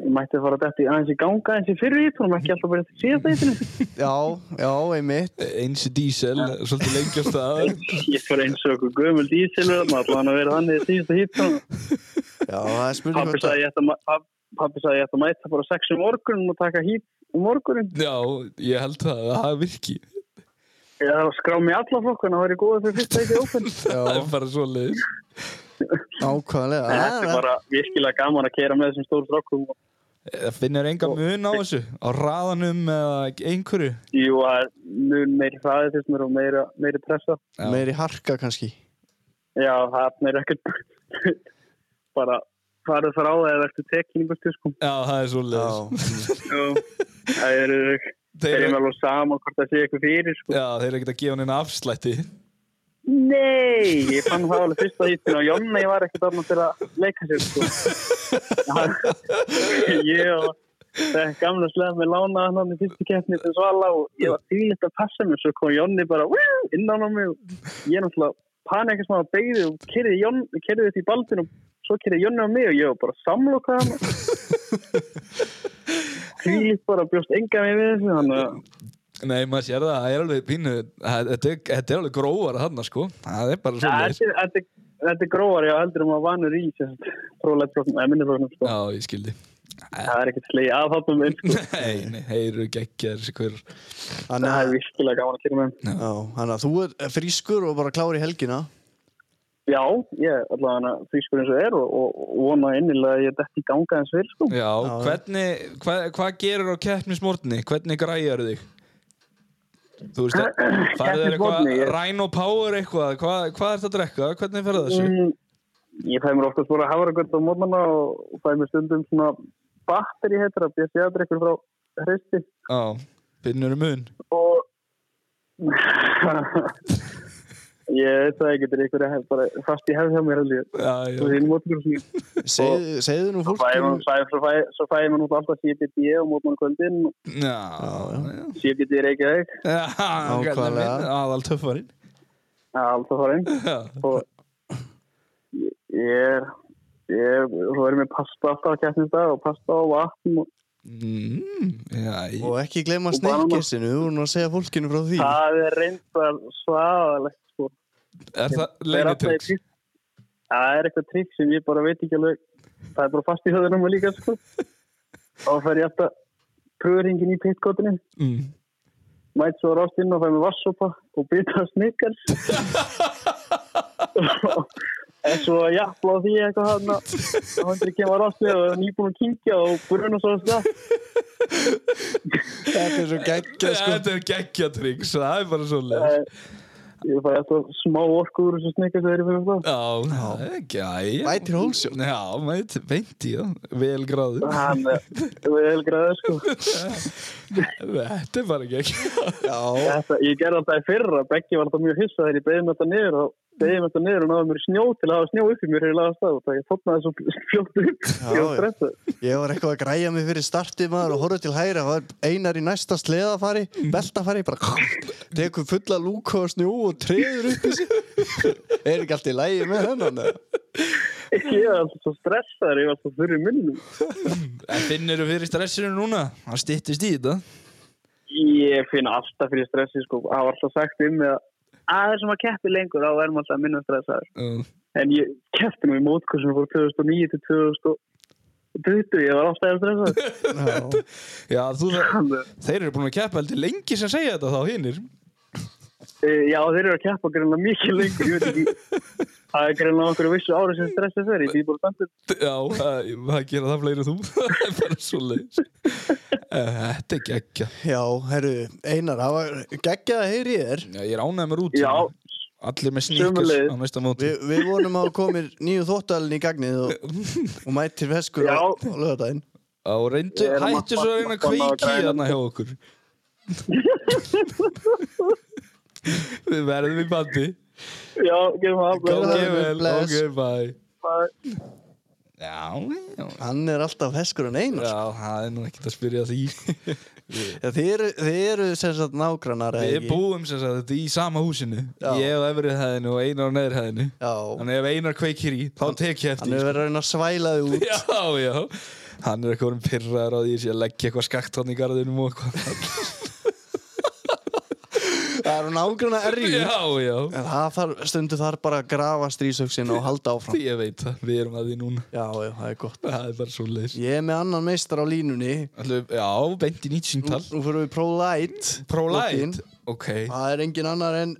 [SPEAKER 3] ég mætti fara þetta í aðeins í ganga aðeins í fyrir ítunum, ekki alltaf bara þetta síðast eitthinu
[SPEAKER 1] Já, já, einmitt
[SPEAKER 2] Einsi diesel, svolítið lengjast að
[SPEAKER 3] ég var eins og okkur gömul dísilur maður allan að vera þannig í síðasta hýtunum
[SPEAKER 1] Já, það er spurning hvort
[SPEAKER 3] Pappi
[SPEAKER 1] að-
[SPEAKER 3] sagði ég ætti að ma- pab- pabbi sagði ég ætti að mæta bara sex um morgunum og taka hít um morgunin.
[SPEAKER 2] Já, ég held það, það virki
[SPEAKER 3] Ég þarf að skrá mig í alla flokkuna, það væri góða fyrir fyrst ekki ópen.
[SPEAKER 2] Það er bara svoleiðis
[SPEAKER 1] Nákvæmlega
[SPEAKER 3] En þetta
[SPEAKER 1] það
[SPEAKER 3] er
[SPEAKER 1] er-
[SPEAKER 3] bara virkilega gaman að keira með þessum stóru strákum. og-
[SPEAKER 2] Það finnur enga mun á þessu Á raðanum eða einhverju
[SPEAKER 3] Jú, það er mun meiri hraðið fyrst mér og meira, meiri pressa.
[SPEAKER 2] Já.
[SPEAKER 1] meiri harka kannski
[SPEAKER 3] Já, það er meira ekkert bara farið frá það eða eftir tekinn í burtu, sko.
[SPEAKER 2] Já, það er svoleiðis
[SPEAKER 3] Já. Það eru,
[SPEAKER 2] Þeir
[SPEAKER 3] þeir eru
[SPEAKER 2] eru-
[SPEAKER 3] alveg saman hvort það sé eitthvað fyrir, sko.
[SPEAKER 2] Já, þeir eru ekkert að gefa hann eina afslætti
[SPEAKER 3] Nei, ég fann það alveg fyrsta hýttinu og Jonna ég var ekkert orðin til að leika sér sko. Hann- ég og það gamla sleða með lána hann í fyrstu keppni til Svala og ég var þvílitt að passa mig svo kom Jonni bara "Woo!" inn á mig og ég náttúrulega pan ekkert smá að beigði og kerði þetta í baldin og svo kerði Jonni á mig og ég var bara samlokkað hann þvílitt bara bjóst enga mig við þessu þannig að
[SPEAKER 2] Nei, maður sér það, það er alveg pínu það- Þetta er, þetta er alveg grófara þarna, sko Það er bara
[SPEAKER 3] Ja,
[SPEAKER 2] svoleiðis
[SPEAKER 3] Þetta er- þetta er- þetta er gróðar, já, heldur um að vanur í prófleitflokkum, eða minniflokkum sko.
[SPEAKER 2] Já, ég skildi
[SPEAKER 3] það er ekkert slegið aðhaldum minn sko.
[SPEAKER 2] Nei, nei, þeir eru geggjaðir þessi hver
[SPEAKER 1] Þannig
[SPEAKER 3] það er
[SPEAKER 1] að-
[SPEAKER 3] virkilega gaman að kynna með þeim.
[SPEAKER 1] já, þannig að þú er frískur og bara klári helgina
[SPEAKER 3] já, ég er allavega frískur eins og er og, og, og vona innilega að ég detti í ganga eins fyrir sko.
[SPEAKER 2] Já, hvernig, hvað, hvað gerur á keppnismórni? Hvernig græjar þig? Þú veist, farið þér eitthvað
[SPEAKER 3] Keppnismorgni, ég-
[SPEAKER 2] Rhino Power eitthvað, hvað, hvað ert að drekka? Hvernig fer það þessu?
[SPEAKER 3] mm, ég fæ mér oftast bara hafragrönd á mótnana og fæ mér stundum svona batteri heitir að bjössi aðdrykkur frá hristi
[SPEAKER 2] Já, finnur um mun
[SPEAKER 3] og ég veit það ekki þetta er einhverja bara fast í hefð hjá mér heldur ég
[SPEAKER 2] Já, já,
[SPEAKER 3] og þín mótnur
[SPEAKER 1] segðu, segðu nú fólk
[SPEAKER 3] Fæ- fæ- svo fæ- svo fæði maður út alltaf CBD og mótmann kvöldin og
[SPEAKER 2] já,
[SPEAKER 3] CBD Reykjavík
[SPEAKER 2] já Ákvæðlega
[SPEAKER 1] Nákvæmlega.
[SPEAKER 2] minn, aðal töffarinn
[SPEAKER 3] alltaf farinn
[SPEAKER 2] Já,
[SPEAKER 3] og ég- ég ég svo erum við pasta alltaf að kæftnist dag og pasta á vatn og
[SPEAKER 2] mm, já ég,
[SPEAKER 1] og ekki gleyma
[SPEAKER 3] Og banana.
[SPEAKER 1] snekkesinu þú voru nú að segja fólkinu frá því
[SPEAKER 3] það er reyndar svaðalegt sko
[SPEAKER 2] Er það
[SPEAKER 3] Það er alltaf
[SPEAKER 2] leinitryggs?
[SPEAKER 3] eitthvað- það er eitthvað trikk sem ég bara veit ekki alveg það er bara fast í höðunum og líka sko og fer ég alltaf pröfuringin í pittkotinu
[SPEAKER 2] Mm.
[SPEAKER 3] mætt svo á rástinn og fæði mig vassopa og byrta snickers en svo jafnla á því eitthvað hann að hann til að kemur á rástinn og er nýbúin að kynkja og bruna svo að stað
[SPEAKER 1] þetta er svo geggja sko
[SPEAKER 2] Þetta er geggjatryggs, það er bara svo
[SPEAKER 3] Eh, ég fæði alltaf smá orku úr þessu snickers þegar ég um fyrir það
[SPEAKER 2] Já, það er ekki, já
[SPEAKER 1] Mætir Hólsjón.
[SPEAKER 2] Já, mætir, veinti, já, vel gráður
[SPEAKER 3] hann er vel græður sko
[SPEAKER 2] Þetta er bara ekki
[SPEAKER 1] já,
[SPEAKER 3] þetta, ég gerði alltaf í fyrra Beggi var alltaf mjög hissa þegar ég beði með þetta niður og beði með þetta niður og náði mér í snjó til að hafa snjó upp í mér þegar ég laði að stað og það ég tóknaði svo fljótt upp ég var
[SPEAKER 1] já.
[SPEAKER 3] stressað
[SPEAKER 1] ég var eitthvað að græja mig fyrir startið maður og horfa til hæra var einar í næsta sleðafari
[SPEAKER 2] Mm.
[SPEAKER 1] beltafari, bara tekur fulla lúka og snjó og treður upp í sig er ekki allt í lægi með hennan eða?
[SPEAKER 3] Ég var alltaf svo stressaður, ég var alltaf fyrir munnum.
[SPEAKER 2] En finnir þú fyrir stressinu núna? Það styttist í þetta
[SPEAKER 3] Ég finn alltaf fyrir stressi, sko. Það var alltaf sagt um mig að að það er sem að keppi lengur, þá er maður alltaf minna stressaður.
[SPEAKER 2] uh,
[SPEAKER 3] En ég keppti nú í mótkursinu fór 2009 til 2020, ég var alltaf stressaður.
[SPEAKER 1] Já.
[SPEAKER 2] Já, þú,
[SPEAKER 3] Þannig að,
[SPEAKER 2] þeir eru búin að keppa heldur lengi sem segja þetta þá hinnir
[SPEAKER 3] e, Já, þeir eru að keppa greinlega mikið lengur, ég veit ekki. Það er greinlega okkur vissu ári sem stressið fer, ég býð bara standið.
[SPEAKER 2] Já, það það gera það fleiri en þú Það er bara svo leis Þetta er geggja
[SPEAKER 1] Já, herru, Einar, það var geggjað að heyri þér
[SPEAKER 2] Já, Ég er ánægð með rútinu
[SPEAKER 3] Já,
[SPEAKER 2] Allir með sníkers
[SPEAKER 3] Sömuleiðis.
[SPEAKER 2] á næsta móti
[SPEAKER 1] Vi, Við vonum að komin nýju þóttalinn í gagnið og, og mætir veskur á,
[SPEAKER 3] Já.
[SPEAKER 1] á lögadaginn
[SPEAKER 2] Og reyndu,
[SPEAKER 3] Ég er að
[SPEAKER 2] hættu
[SPEAKER 3] mappa-
[SPEAKER 2] svo að reyna að
[SPEAKER 3] mappa- mappa-
[SPEAKER 2] kveiki
[SPEAKER 3] græna.
[SPEAKER 2] hérna hjá okkur Við verðum í bandi
[SPEAKER 3] já, gefum það
[SPEAKER 1] Góð-
[SPEAKER 2] Ok,
[SPEAKER 3] afblæðið.
[SPEAKER 1] Bless.
[SPEAKER 2] vel, ok, bye Já, já,
[SPEAKER 1] Hann er alltaf veskur en Einar
[SPEAKER 2] já, það er nú ekkert að spyrja að því sko.
[SPEAKER 1] Já, þið eru, þið eru sem sagt nágrannar eða
[SPEAKER 2] Við
[SPEAKER 1] ekki?
[SPEAKER 2] búum sem sagt þetta í sama húsinu
[SPEAKER 1] Já.
[SPEAKER 2] Ég á efrið hæðinu og Einar á neðri hæðinu
[SPEAKER 1] Já,
[SPEAKER 2] Þannig ef Einar kveikir í, þá tek ég
[SPEAKER 1] hann
[SPEAKER 2] eftir
[SPEAKER 1] hefur verið að reyna að svæla þig út
[SPEAKER 2] Já, já Hann er eitthvað um pyrraður á því að ég sé að leggja eitthvað skakt hann í garðinum og eitthvað
[SPEAKER 1] Það eru nágrannar erjur
[SPEAKER 2] Já, já
[SPEAKER 1] En það þarf, stundu þarf bara að grafa strísöksin og halda áfram
[SPEAKER 2] Ég veit það, við erum að því núna
[SPEAKER 1] Já, já, það er gott
[SPEAKER 2] Það er bara svo leis
[SPEAKER 1] Ég er með annan meistar á línunni
[SPEAKER 2] Já, beint í nýtt
[SPEAKER 1] Nú
[SPEAKER 2] síntal
[SPEAKER 1] nú fyrir við Pro-Light Lokin.
[SPEAKER 2] Pro-Light Ok Já,
[SPEAKER 1] Það er engin annar en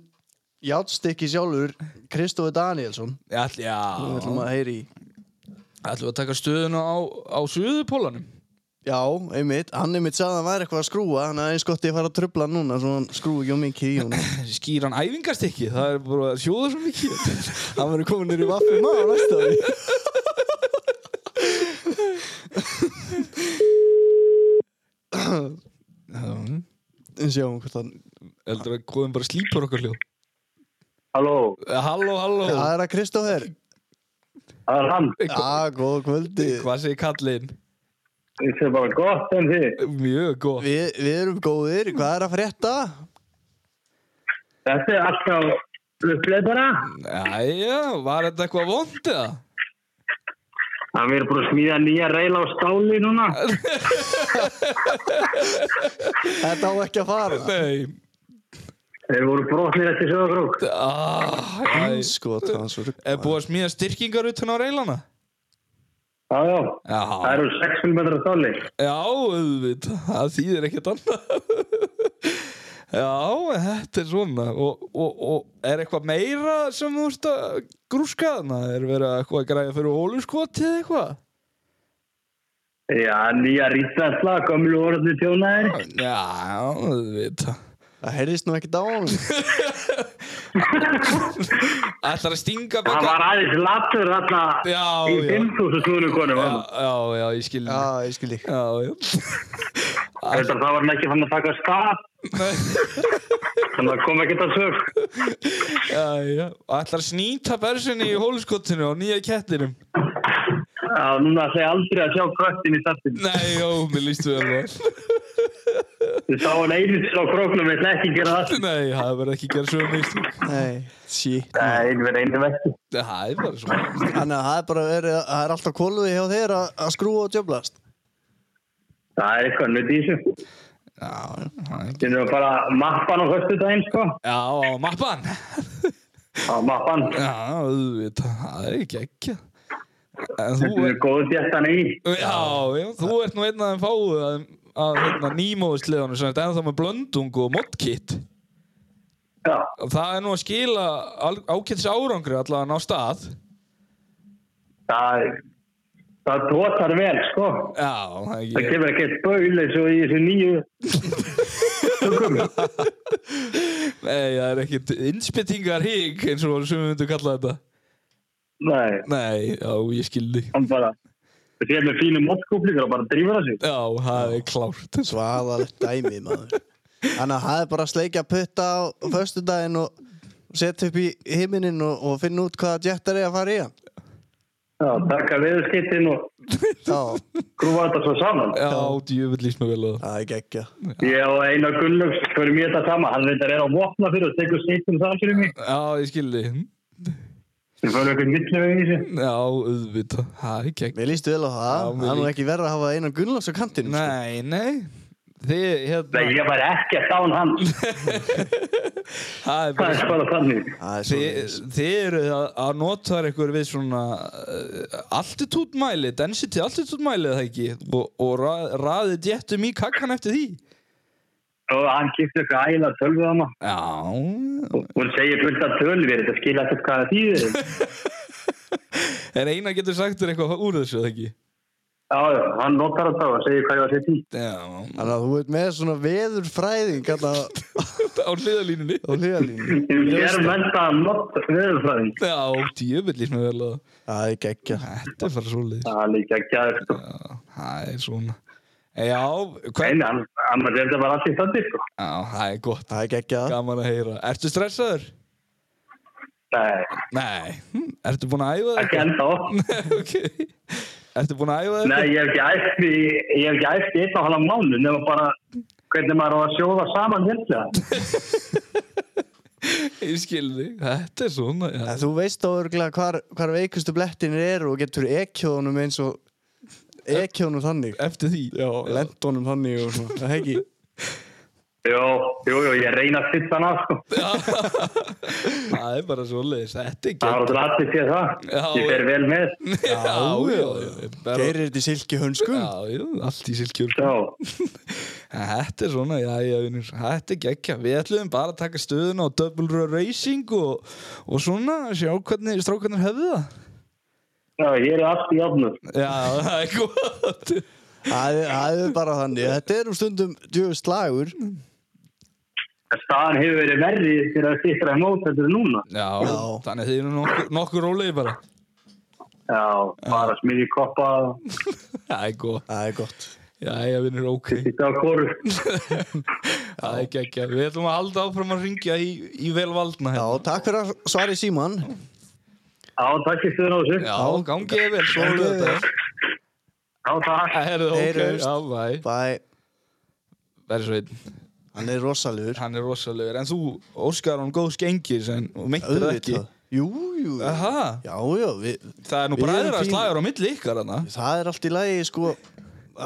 [SPEAKER 1] Játstykki sjálfur Kristófi Danielsson
[SPEAKER 2] já
[SPEAKER 1] Við
[SPEAKER 2] Ætlum
[SPEAKER 1] ætlum að heyri í
[SPEAKER 2] við að taka stöðuna á, á suðupólanum
[SPEAKER 1] Já, einmitt, hann einmitt sagði að hann væri eitthvað að skrúa Þannig að eins gott ég fara að trubla hann núna Svo hann skrúi ekki á mikið í honum
[SPEAKER 2] Skýran æfingarstykki, það er bara að sjóða svo mikið
[SPEAKER 1] Hann verður komin nýri vaffi maður næsta ári En sjáum hvort hann
[SPEAKER 2] Eldur að góðum bara slípar okkar hljó
[SPEAKER 3] Halló,
[SPEAKER 2] Halló, halló
[SPEAKER 1] Það er að Kristófer
[SPEAKER 3] það er hann.
[SPEAKER 1] Já, góð kvöldi
[SPEAKER 2] Hvað segir kallinn?
[SPEAKER 3] Þetta er bara gott en þið.
[SPEAKER 2] Mjög gott
[SPEAKER 1] Við, við erum góðir, hvað er að frétta?
[SPEAKER 3] Þetta er alltaf uppleið bara.
[SPEAKER 2] Jæja, var þetta eitthvað vond eða?
[SPEAKER 3] Það verður bara að smíða nýja reyla á stáli núna.
[SPEAKER 1] Þetta á ekki að fara
[SPEAKER 2] Nei
[SPEAKER 3] Þeir voru brotnir eftir söðagrók.
[SPEAKER 2] ah, æ.
[SPEAKER 1] Sko, það er svo rugl-
[SPEAKER 2] Er búið að smíða styrkingar utan á reilana?
[SPEAKER 3] Já, já. Það
[SPEAKER 2] Já,
[SPEAKER 3] eru 6 mm stáli.
[SPEAKER 2] já auðvitað, það þýðir ekkert annað Já, þetta er svona og, og, og er eitthvað meira sem þú veist að grúska þarna? Er verið að eitthvað að græja fyrir hóluskoti eða eitthvað?
[SPEAKER 3] Já, nýja rítastla, gömlu orðinu tjónaðir.
[SPEAKER 2] Já, auðvitað
[SPEAKER 1] Það heyrðist nú ekkert á hann
[SPEAKER 2] Ætlar að stinga
[SPEAKER 3] Það
[SPEAKER 2] bakka?
[SPEAKER 3] var aðeins latur þarna
[SPEAKER 2] Já,
[SPEAKER 3] í
[SPEAKER 2] já.
[SPEAKER 3] 5.000 snúðinu konum.
[SPEAKER 2] Já, já, já, ég skil
[SPEAKER 1] Já,
[SPEAKER 2] Já,
[SPEAKER 1] ég skil ekki
[SPEAKER 2] já
[SPEAKER 3] Þetta það var hann ekki fann að taka stað. Þannig að kom ekki þetta sög.
[SPEAKER 2] Já, já. Og ætlar að snýta bersinni í hóluskottinu á nýja kettinum.
[SPEAKER 3] Já, núna ætla ég aldrei að sjá kvöttin í startinu.
[SPEAKER 2] Nei, jó, mér líst við alveg.
[SPEAKER 3] Þið sá hann einu á króknum, ég ætla ekki að gera það.
[SPEAKER 2] Nei, það verður ekki gerð svo mistök.
[SPEAKER 1] Nei, shit
[SPEAKER 3] Það er verið einu vekki.
[SPEAKER 2] Það er bara svona.
[SPEAKER 1] Þannig að það er bara verið, það er alltaf kólfið hjá þér að, að skrúa og djöblast
[SPEAKER 3] Það er eitthvað nutt í þessu.
[SPEAKER 2] Já, það er ekki.
[SPEAKER 3] Þeir eru bara mappan á höstu daginn, sko.
[SPEAKER 2] Já, á mappan.
[SPEAKER 3] Á mappan.
[SPEAKER 2] Já, auðvitað, það er ekki ekki. En þú
[SPEAKER 3] Þetta er
[SPEAKER 2] er...
[SPEAKER 3] góð djættan í.
[SPEAKER 2] Já, já, þú ert nú einn af þeim fáu að, að hérna, nýmóðisliðanum sem er ennþá með blöndung og modkitt.
[SPEAKER 3] Já,
[SPEAKER 2] Það er nú að skila ákvæmst árangri allavega á stað.
[SPEAKER 3] það, það tótar vel, sko.
[SPEAKER 2] Já, það er
[SPEAKER 3] Það
[SPEAKER 2] ekki.
[SPEAKER 3] kemur ekki eitt baul eins og í þessu nýju.
[SPEAKER 2] Nei, það er ekkert innspyttingar hík eins og sem við myndum kalla þetta.
[SPEAKER 3] Nei,
[SPEAKER 2] Nei, já, ég skildi.
[SPEAKER 3] hann bara... Það sé með fínum mótkúplíkur og bara drífur það sig.
[SPEAKER 2] Já, það er klárt.
[SPEAKER 1] Svaðalegt dæmi, maður Þannig að það er bara að sleikja putta á föstudaginn og setja upp í himinin og, og finna út hvaða djettar er að fara í hann
[SPEAKER 3] Já, taka veðurskittin og
[SPEAKER 1] Já,
[SPEAKER 3] grúfa þetta svo saman.
[SPEAKER 2] Já, djöfull líst mér vel á það.
[SPEAKER 1] það er geggja
[SPEAKER 3] Ég og Einar Gunnlaugs förum
[SPEAKER 2] Hm?
[SPEAKER 3] í þetta sama. Hann reyndar er á vopna fyrir og tekur skittin það fyrir mig.
[SPEAKER 2] Já, ég skildi.
[SPEAKER 4] Þið fóru eitthvað milliveg í þessu.
[SPEAKER 2] Já, auðvitað, það er gegn
[SPEAKER 1] Mér líst vel á
[SPEAKER 2] Já,
[SPEAKER 1] það,
[SPEAKER 2] mér
[SPEAKER 1] það er nú
[SPEAKER 2] líka.
[SPEAKER 1] ekki verra að hafa einan Gunnlaugs á kantinum sko.
[SPEAKER 2] Nei, nei Þið, hérna
[SPEAKER 4] Nei, ég var ekki að dán hann.
[SPEAKER 2] Það
[SPEAKER 4] Það
[SPEAKER 2] er bara
[SPEAKER 4] er bara þannig.
[SPEAKER 1] Það er
[SPEAKER 2] Þið,
[SPEAKER 1] svoleiðis.
[SPEAKER 2] þið eru að, að nota ykkur við svona uh, altitude mæli, density altitude mæli eða ekki og, og ra, raðið djettum í kakkan eftir því
[SPEAKER 4] Og hann kipti eitthvað æla tölvu á maður.
[SPEAKER 2] Já
[SPEAKER 4] Og hún segir fullt af tölvir, þetta skilja ekkert hvað það þýðir.
[SPEAKER 2] En eina getur sagt þér eitthvað úr þessu eða ekki
[SPEAKER 4] Já, já, hann notar þetta og segir hvað ég var að setja í.
[SPEAKER 2] Já,
[SPEAKER 1] Þannig að þú ert með svona veðurfræðing hérna á
[SPEAKER 2] á hliðalínunni
[SPEAKER 1] hlýðalínu.
[SPEAKER 4] Ég er mennta að nota veðurfræðing.
[SPEAKER 2] Já, djöfull líst mér vel að
[SPEAKER 1] Það er geggja.
[SPEAKER 2] Þetta er bara svo liðis
[SPEAKER 4] Það er líka ekki að, sko.
[SPEAKER 2] Það er svona Já, hvern,
[SPEAKER 4] En hann, hann er þetta bara allir standi, sko.
[SPEAKER 2] já, það er gott
[SPEAKER 1] Það er geggja.
[SPEAKER 2] Gaman að heyra Ertu stressaður?
[SPEAKER 4] Nei,
[SPEAKER 2] Nei Hm, Ertu búin að æfa
[SPEAKER 4] ekki
[SPEAKER 2] það?
[SPEAKER 4] enda
[SPEAKER 2] ok Ertu búin að æfa það?
[SPEAKER 4] Nei, ég hef ekki æft í, ég hef ekki æft í einn og halvan mánu, nema bara hvernig maður á að sjóða saman hérna.
[SPEAKER 2] Ég skil þig Þetta er svona já.
[SPEAKER 1] En þú veist þá örgulega hvar, hvar veikustu blettinir eru og getur ekkjóðunum eins og ekkjóðunum þannig.
[SPEAKER 2] Eftir því Já,
[SPEAKER 1] Lentónum þannig og svona. Það er ekki.
[SPEAKER 4] Jó, jú, jú, ég reyna að fyrta hann af, sko.
[SPEAKER 2] Það er bara svo liðis Þetta
[SPEAKER 4] Það
[SPEAKER 2] er
[SPEAKER 4] var
[SPEAKER 2] gegn
[SPEAKER 4] alltaf allir séð það.
[SPEAKER 2] Já,
[SPEAKER 4] ég fer vel með.
[SPEAKER 2] Já, já, já Bara-
[SPEAKER 1] Geirir þetta í silki hönskum.
[SPEAKER 2] Já, já, allt í silkjur
[SPEAKER 4] Já,
[SPEAKER 2] Þetta er svona, já, já, vinur Þetta er geggja, við ætlum bara að taka stöðuna á Double Row Racing og, og svona, sjá hvernig strákarnir höfðu það
[SPEAKER 4] já, ég er allt í ofnum.
[SPEAKER 2] Já, það er gott
[SPEAKER 1] Það er- það er bara þannig. Þetta eru stundum djöfust slagur.
[SPEAKER 4] Staðan hefur verið verri fyrir að sýttra mót heldur en núna.
[SPEAKER 2] Já,
[SPEAKER 1] Já.
[SPEAKER 2] þannig þið eru nokkur, nokkur rólegi bara
[SPEAKER 4] Já, bara smiði koppa og
[SPEAKER 2] Það er gott,
[SPEAKER 1] Það er gott.
[SPEAKER 2] já, já, vinur, ok
[SPEAKER 4] sýtta á koru.
[SPEAKER 2] Það er geggja, við ætlum að halda áfram að ringja í, í velvaldna
[SPEAKER 1] Já,
[SPEAKER 2] hérna.
[SPEAKER 1] takk fyrir að svari síman.
[SPEAKER 4] Já, takk fyrir stöðun á þessu.
[SPEAKER 2] já, gangi þér vel, svo
[SPEAKER 1] Gangi
[SPEAKER 2] við
[SPEAKER 1] þér
[SPEAKER 2] þetta
[SPEAKER 4] Já, takk.
[SPEAKER 2] Það er ok,
[SPEAKER 1] Heyrumst.
[SPEAKER 2] já, bæ
[SPEAKER 1] Bæ.
[SPEAKER 2] Verður svo einn,
[SPEAKER 1] Hann er rosalegur.
[SPEAKER 2] hann er rosalegur En þú, Óskar, hann góð skengir en, og meintir það ekki
[SPEAKER 1] Auðvitað. Jú, jú.
[SPEAKER 2] Aha.
[SPEAKER 1] Já, já, við,
[SPEAKER 2] Það er nú
[SPEAKER 1] Við erum
[SPEAKER 2] bræðra
[SPEAKER 1] fínir.
[SPEAKER 2] slagur á milli ykkar hana
[SPEAKER 1] það er allt í lagi, sko,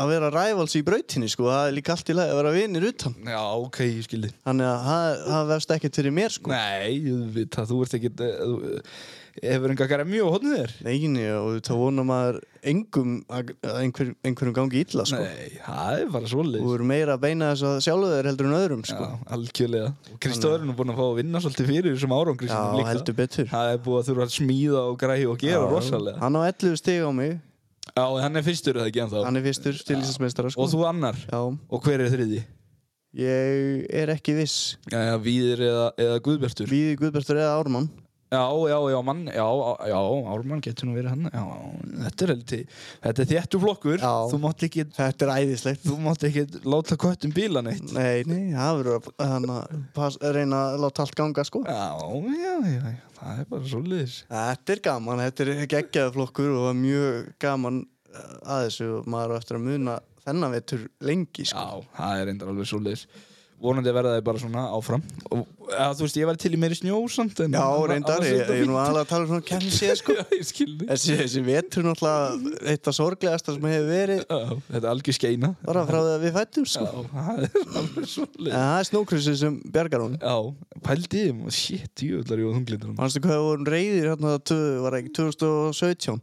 [SPEAKER 1] að vera rævals í brautinni, sko. Það er líka allt í lagi að vera vinir utan.
[SPEAKER 2] Já, ok, ég skildi
[SPEAKER 1] Þannig að það- það verðst ekkert fyrir mér, sko.
[SPEAKER 2] Nei, það, þú ert ekkit eh, þú- Hefur enga gæra mjög hodnið þér
[SPEAKER 1] Neginni og þá vonar maður engum að að einhver, einhverjum gangi illa, sko.
[SPEAKER 2] Nei, það er bara
[SPEAKER 1] Þú
[SPEAKER 2] svoleið
[SPEAKER 1] eru meira að beina þess að sjálfu þeir heldur en öðrum, sko.
[SPEAKER 2] Já, algjörlega Og Kristóður er nú búin að fá að vinna svolítið fyrir þessum árangri
[SPEAKER 1] Já,
[SPEAKER 2] sínum líka.
[SPEAKER 1] heldur betur.
[SPEAKER 2] Það er búið að þurfa að smíða og græja og gera rosalega
[SPEAKER 1] Hann á 11 stig á mig,
[SPEAKER 2] Já, en hann er fyrstur eða ekki ennþá
[SPEAKER 1] hann er fyrstur til Íslandsmeistara, sko.
[SPEAKER 2] Og þú annar
[SPEAKER 1] Já,
[SPEAKER 2] Og hver er þriði?
[SPEAKER 1] ég er ekki viss.
[SPEAKER 2] Já, já, Víðir eða, eða Guðbjartur
[SPEAKER 1] Víði Guðbjartur eða Ármann.
[SPEAKER 2] Já, já, já, mann, já, á- já, Ármann getur nú verið hann Já, þetta er heldur Þetta er þéttu flokkur
[SPEAKER 1] Já.
[SPEAKER 2] Þú mátt ekki
[SPEAKER 1] Þetta er æðislegt.
[SPEAKER 2] Þú mátt ekki láta köttum bíla neitt
[SPEAKER 1] Nei, nei, það verður að hann að pass- reyna að láta allt ganga, sko.
[SPEAKER 2] Já, já, já, já, það er bara svo liðis
[SPEAKER 1] Þetta er gaman, þetta er geggjaður flokkur og það er mjög gaman eh, að þessu og maður á eftir að muna þennan vetur lengi, sko.
[SPEAKER 2] Já, það er reyndar alveg svo liðis Vonandi verða þið bara svona áfram og, eða, Þú veist, ég væri til í meiri snjó samt en-
[SPEAKER 1] Já,
[SPEAKER 2] annars-
[SPEAKER 1] reyndar,
[SPEAKER 2] annars
[SPEAKER 1] ég,
[SPEAKER 2] er
[SPEAKER 1] ég
[SPEAKER 2] þetta
[SPEAKER 1] er nú
[SPEAKER 2] fínt.
[SPEAKER 1] aðalega að tala um svona kemsið sko.
[SPEAKER 2] Já, ég skildi
[SPEAKER 1] Þessi, þessi vetur er náttúrulega eitt af sorglegasta sem hefur verið
[SPEAKER 2] Já, Þetta er algjör skeina
[SPEAKER 1] bara frá því að við fættum
[SPEAKER 2] Já,
[SPEAKER 1] sko.
[SPEAKER 2] það er alveg svo
[SPEAKER 1] En
[SPEAKER 2] liðis
[SPEAKER 1] það er snókrusið sem bjargar hún.
[SPEAKER 2] Já, pældi ég, shit, jöfnlar ég og þunglindur
[SPEAKER 1] Manstu hvað við vorum reyðir hérna, tvö- var það ekki 2017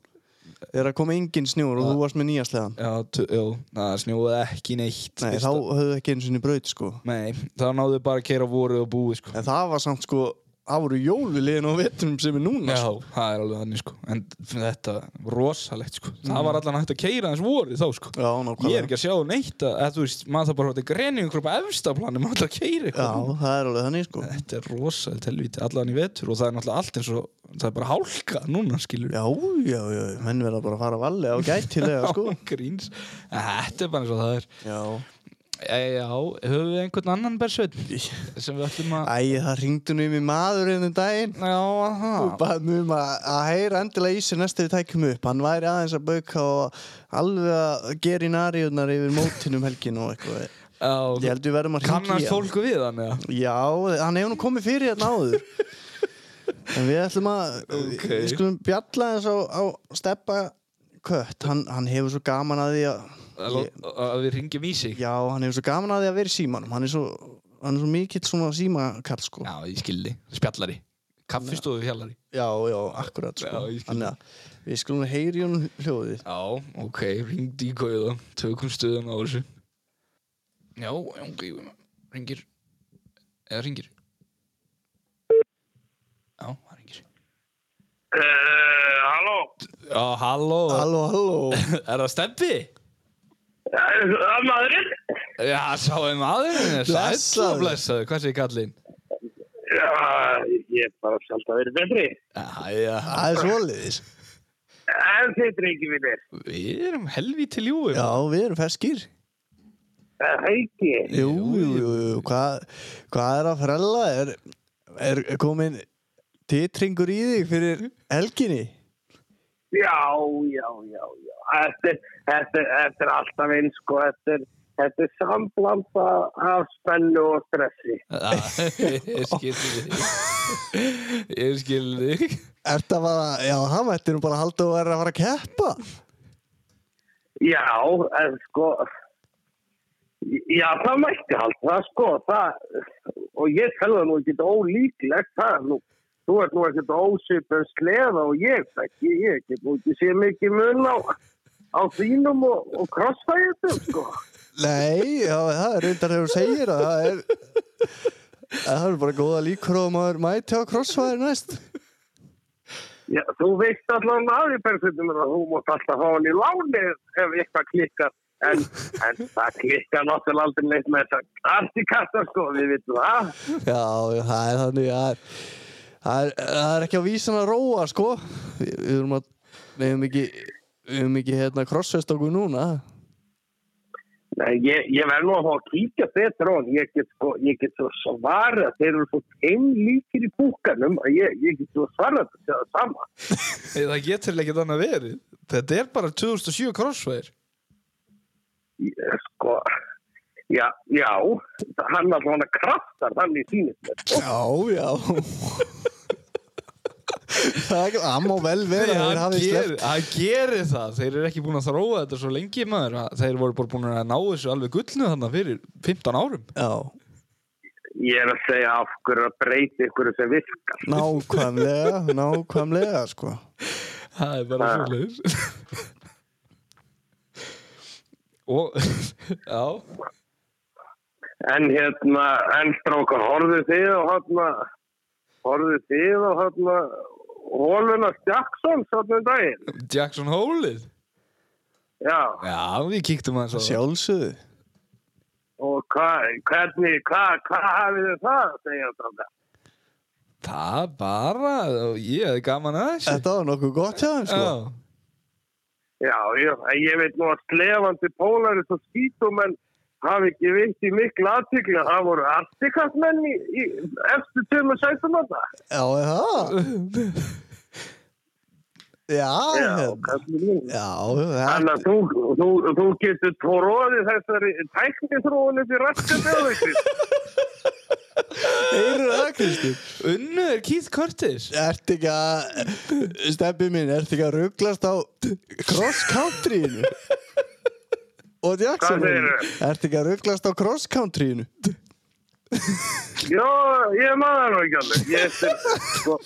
[SPEAKER 1] þegar kom engin snjór og þú varst með nýja sleðan.
[SPEAKER 2] Já, tö- já, það snjóði ekki neitt
[SPEAKER 1] Nei,
[SPEAKER 2] fyrst
[SPEAKER 1] þá
[SPEAKER 2] að-
[SPEAKER 1] höfðu ekki eins og niður braut sko.
[SPEAKER 2] Nei, þá náðu þau bara að keira voruð og búið sko.
[SPEAKER 1] En það var samt sko, það voru jólulegin á vettunum sem er núna
[SPEAKER 2] Já,
[SPEAKER 1] sko.
[SPEAKER 2] það er alveg þannig sko En þetta, rosalegt sko Það var allan hægt að keira eins vorið þá sko
[SPEAKER 1] Mm. Já,
[SPEAKER 2] Ég er
[SPEAKER 1] nákvæmlega.
[SPEAKER 2] ekki að sjá neitt að, að þú veist Maður það bara hótti greni ykkur upp efsta plani Maður það að keira
[SPEAKER 1] Já,
[SPEAKER 2] eitthvað
[SPEAKER 1] það er alveg þannig sko.
[SPEAKER 2] Þetta er rosalegt helvíti, allan í vetur Og það er náttúrulega allt eins og Það er bara hálka núna skilur
[SPEAKER 1] Já, já, já, menn verða bara að fara vallega og gætilega sko.
[SPEAKER 2] Gríns En Þetta er bara eins og það er
[SPEAKER 1] Já.
[SPEAKER 2] e, Já, höfum við einhvern annan bersveitn Sem við ætlum að
[SPEAKER 1] Æ, það ringdu nú í mig maður einu daginn
[SPEAKER 2] Já, aha
[SPEAKER 1] og baði mig um að, að heyra endilega í sér næstu við tækjum upp. Hann væri aðeins að bauka og alveg að gera í nariðunar yfir mótinum helgin og eitthvað. Ég
[SPEAKER 2] Já,
[SPEAKER 1] held við verðum að ringi
[SPEAKER 2] kannast fólku við hann eða?
[SPEAKER 1] Já, hann hefur nú komið fyrir hérna áður. En við ætlum að,
[SPEAKER 2] Ok.
[SPEAKER 1] við skulum bjalla eins á, á steppa kött, hann, hann hefur svo gaman að því að,
[SPEAKER 2] Að lá- að við ringjum í sig
[SPEAKER 1] já, hann hefur svo gaman að því að vera í símanum, hann er svo, hann er svo mikill svona símakall, sko.
[SPEAKER 2] Já, ég skildi, spjallari Kaffistofu fjallari
[SPEAKER 1] Já, já, akkurat, sko.
[SPEAKER 2] Já, ég skil.
[SPEAKER 1] Þannig að við skulum heyri hún hljóðið.
[SPEAKER 2] Já, ok, ringdi í kóða Tökum stöðan á þessu Já, ok, ringir Eða ringir Já, það ringir
[SPEAKER 3] Eh, Halló?
[SPEAKER 2] Já, halló,
[SPEAKER 1] Halló, halló.
[SPEAKER 2] er það steppi?
[SPEAKER 3] Eh, Það maðurinn?
[SPEAKER 2] Já, sáum maðurinn Sæll
[SPEAKER 1] Blessaður.
[SPEAKER 2] og blessaður, hvað segir kallinn?
[SPEAKER 3] Já, ég er bara sjálf að vera betri.
[SPEAKER 2] Æja,
[SPEAKER 1] Það er svoleiðis.
[SPEAKER 3] En þið drengi mínir,
[SPEAKER 2] við erum helvíti ljúum
[SPEAKER 1] Já, við erum ferskir.
[SPEAKER 3] það er heiki.
[SPEAKER 1] Jú, jú, jú, jú. Hvað, hvað er að frella? Er, er komin titringur í þig fyrir helginni?
[SPEAKER 3] Já, já, já, já. Þetta er- Þetta er- þetta er alltaf eins, sko. Þetta er, þetta er samblanda af spennu og stressi.
[SPEAKER 2] Já, ég skil þig Ég skil þig
[SPEAKER 1] Er það bara, já, það mætti nú bara halda og er að fara að keppa.
[SPEAKER 3] Já, en sko... Já, það mætti halda það, sko. Það, og ég tel það nú ekkert ólíklegt það. er Nú, þú ert nú ekkert ósipur sleða og ég þekki, ég get nú ekki sé mikið mun á, á þínum og, og krossfæðum, sko.
[SPEAKER 1] Nei, já, það er reyndar þegar þú segir að það er, það er bara góða líkur og maður mæti á krossfæri næst.
[SPEAKER 3] Já, þú veist allavega að því bergfundum að þú mátt alltaf hafa hann í láni ef eitthvað klikkar. En, en það klikkar náttúrulega aldrei neitt með þess að allt í kassa, sko, við vitum það.
[SPEAKER 1] Já, já, það er þannig, það er, það er, það er ekki á vísan að róa, sko. Við, við erum að, við erum ekki, við erum ekki hérna krossfest okkur núna.
[SPEAKER 3] Nei, ég, ég verð nú að fá að kíkja betur á hann. Ég get, sko, ég get svo svarað. Þeir eru svo einlíkir í búkanum að ég, ég get svo svarað að segja það sama.
[SPEAKER 2] Nei, Það getur ekkert annað verið Þetta er bara 2007 crossfire
[SPEAKER 3] Ég, sko, já, já, hann alltaf hann kraftar hann í sínum.
[SPEAKER 1] Já, já. Það er ekki, það má vel vera að þeir
[SPEAKER 2] hann
[SPEAKER 1] hafið
[SPEAKER 2] gerir,
[SPEAKER 1] sleppt.
[SPEAKER 2] hann gerir það Þeir eru ekki búin að þróa þetta svo lengi maður Þeir voru bara búin að ná þessu alveg gullnu þarna fyrir 15 árum
[SPEAKER 1] Já,
[SPEAKER 3] Ég er að segja af hverju að breyta ykkur sem virkar.
[SPEAKER 1] nákvæmlega, nákvæmlega, sko.
[SPEAKER 2] Það er bara svo leiðis Og, já
[SPEAKER 3] En hérna, en strákar, horfðu þið og hérna, horfðu þið og hérna, Hóluna Stjaksson sáttnum um daginn.
[SPEAKER 2] Jackson Hole-ið
[SPEAKER 3] Já.
[SPEAKER 2] Já, við kíktum aðeins á það
[SPEAKER 1] Sjálfsögðu.
[SPEAKER 3] Og hvað, hvernig, hvað, hvað hafið þið það að segja þetta?
[SPEAKER 2] Það bara, ég hefði gaman að þessu
[SPEAKER 1] Þetta var nokkuð gott hjá þeim, sko.
[SPEAKER 2] Já.
[SPEAKER 3] Já, ég, en ég veit nú að slefandi pólari svo skítum en hafi ekki veitt í miklu aðtíkli að það voru artikastmenn í, í eftir tveim og sætum að það.
[SPEAKER 1] Já, er það? Já,
[SPEAKER 3] Já,
[SPEAKER 1] hérna.
[SPEAKER 3] kannski mín.
[SPEAKER 1] Já, hérna, það.
[SPEAKER 3] Þannig að þú, þú, þú getur tróðið þessari tækniþróunni til rættu bjóðveitir.
[SPEAKER 1] Heyrðu það, Kristi.
[SPEAKER 2] Unnu er Keith Curtis
[SPEAKER 1] Ertu ekki að, steppi mín, ertu ekki að rugglast á cross-countryinu? Og Jackson, hérna.
[SPEAKER 3] segirðu?
[SPEAKER 1] ertu ekki að rugglast á cross-countryinu?
[SPEAKER 3] Jó, ég maður það nú ekki alveg. Ég, eftir, sko,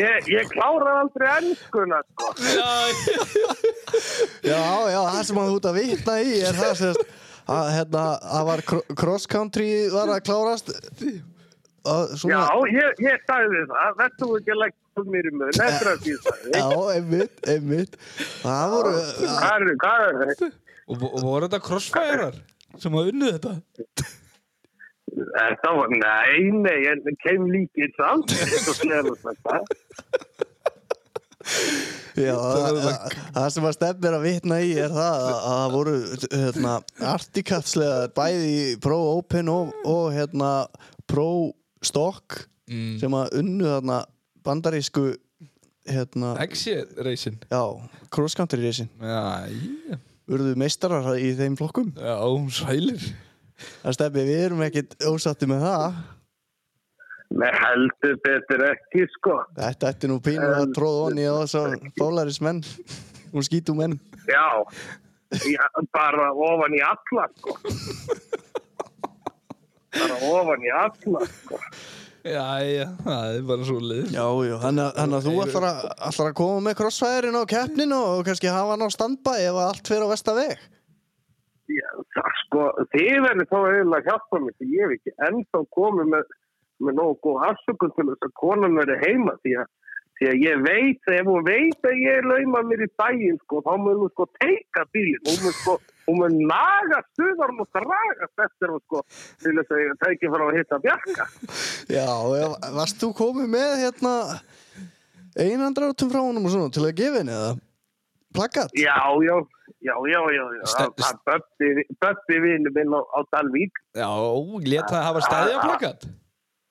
[SPEAKER 3] ég, ég klára aldrei ennskuna, sko.
[SPEAKER 2] Já,
[SPEAKER 1] Já, já, það sem hann út að vitna í er það sem að, hérna, að var kro- cross-country var að klárast. Að,
[SPEAKER 3] Já,
[SPEAKER 1] svona,
[SPEAKER 3] ég, ég sagði það. Þetta voru ekki að leggja mér í mun. Þetta er að því það.
[SPEAKER 1] já, einmitt, einmitt. Það voru,
[SPEAKER 3] Hvað er, hvað er þetta?
[SPEAKER 2] Og, vo- og voru þetta crossfirear sem að unnu þetta?
[SPEAKER 3] Þetta var, nei, nei, en það kem líkið samt. Þetta snerðast þetta.
[SPEAKER 1] Já, það það- það sem að stefn er að vitna í er það að að það voru hérna, artikatslega bæði í Pro Open og, og hérna, Pro Stock sem að unnu þarna bandarísku hérna,
[SPEAKER 2] Exit racing
[SPEAKER 1] já, cross country racing
[SPEAKER 2] Já, í-
[SPEAKER 1] urðu meistarar í þeim flokkum
[SPEAKER 2] já, sælir
[SPEAKER 1] það stefni við erum ekkit ósatti með það
[SPEAKER 3] Nei, heldur betur ekki, sko.
[SPEAKER 1] Þetta ætti nú pínu að tróða onni á þessar bólarismenn og skítumenn.
[SPEAKER 3] Já, já, bara ofan í alla, sko. Bara ofan í alla, sko.
[SPEAKER 2] Jæja, það er bara svo leið
[SPEAKER 1] Já, já, hann að hann að þú ætlar að, ætlar að koma með krossfæðurinn á keppninu og kannski hafa hann á standbæ ef að allt fyrir á vestaveg.
[SPEAKER 3] Já, það, sko, þið verður þá eiginlega að hjálpa mér því ég hef ekki ennþá komið með, með nógu góð afsökun til þess að konan verður heima því að, því að ég veit, ef hún veit að ég lauma mér í daginn, sko, þá mun hún sko teika bílinn, hún mun sko, hún mun naga stuðar og dragast eftir hún sko til þess að ég tæki frá að hitta bjarga.
[SPEAKER 1] Já, ef, Eh, varst þú komið með hérna einandrautum frá honum og svona til að gefa henni eða plakkat?
[SPEAKER 3] Já, já, já, já, já, já,
[SPEAKER 2] Ste-
[SPEAKER 3] það bötti, bötti vinnu minn á, á Dalvík,
[SPEAKER 2] Já, leta það hafa staðjaplakat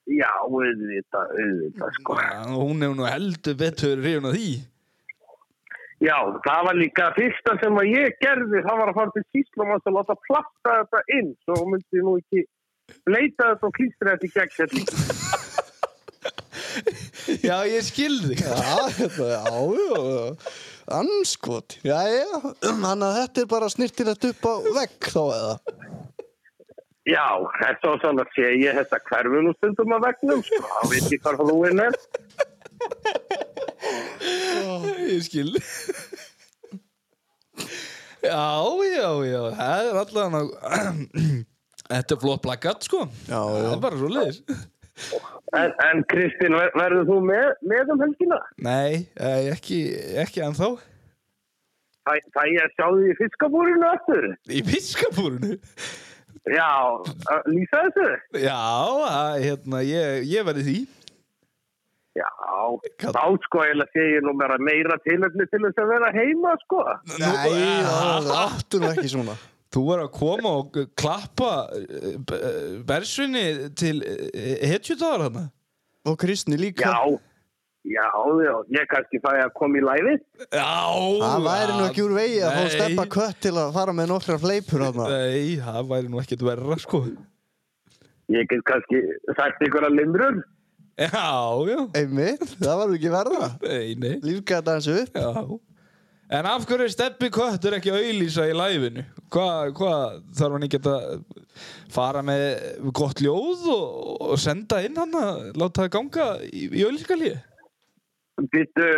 [SPEAKER 3] já, auðvitað, auðvitað, sko.
[SPEAKER 2] Hún hefur nú heldur betur ríðun á því
[SPEAKER 3] Já, það var líka fyrsta sem að ég gerði, það var að fara til Sýslamanns og láta platta þetta inn, svo hún myndi nú ekki bleita þetta og klýstra þetta í gegn hérna.
[SPEAKER 2] Já, ég skilði
[SPEAKER 1] Já,
[SPEAKER 2] hérna,
[SPEAKER 1] þetta, já, já, anskot, já, já, hann að þetta er bara snirtilegt upp á vegg þá eða.
[SPEAKER 3] Já, þetta var svona að sé ég þetta hverfum og stundum að vegnum, sko, þá veit ég hvað hlúin er.
[SPEAKER 2] Ég skilði Já, já, já Það er allan að Þetta er flott plakat, sko
[SPEAKER 1] Já,
[SPEAKER 2] Það
[SPEAKER 1] já.
[SPEAKER 2] er bara svo leiðis
[SPEAKER 3] En, en Kristinn, ver, verður þú með, með um helgina?
[SPEAKER 2] Nei, eh, ekki, ekki ennþá
[SPEAKER 3] Fæ, fæ ég að sjá því í fiskabúrinu aftur?
[SPEAKER 2] Í piskabúrinu
[SPEAKER 3] Já, að lýsa þessu?
[SPEAKER 2] Já, að, hérna, ég, ég verði því
[SPEAKER 3] Já,
[SPEAKER 2] Kall-
[SPEAKER 3] þá sko ég sé ég nú meira meira tilöfni til þess að vera heima, sko.
[SPEAKER 1] Nei, það áttu nú ekki svona.
[SPEAKER 2] Þú er að koma og klappa eh, b- eh, bersunni til eh, hetjutáður hana
[SPEAKER 1] Og Kristni líka.
[SPEAKER 3] Já, já, já, ég kannski fæ að koma í læfi.
[SPEAKER 2] Já
[SPEAKER 1] Það væri nú ekki úr vegi að fá
[SPEAKER 2] Nei.
[SPEAKER 1] steppa kött til að fara með nokkra fleipur þarna.
[SPEAKER 2] Nei, það væri nú ekkert verra sko
[SPEAKER 3] Ég get kannski sagt ykkur að limrur.
[SPEAKER 2] Já, já,
[SPEAKER 1] Einmitt, það var ekki verða.
[SPEAKER 2] nei, nei
[SPEAKER 1] Lífgata hans upp.
[SPEAKER 2] Já En af hverju er Steppi Köttur ekki að auðlýsa í læfinu? Hvað hva, þarf hann ekki að fara með gott ljóð og, og senda inn hann að láta það ganga í, í auðlýskalíu?
[SPEAKER 3] Býttu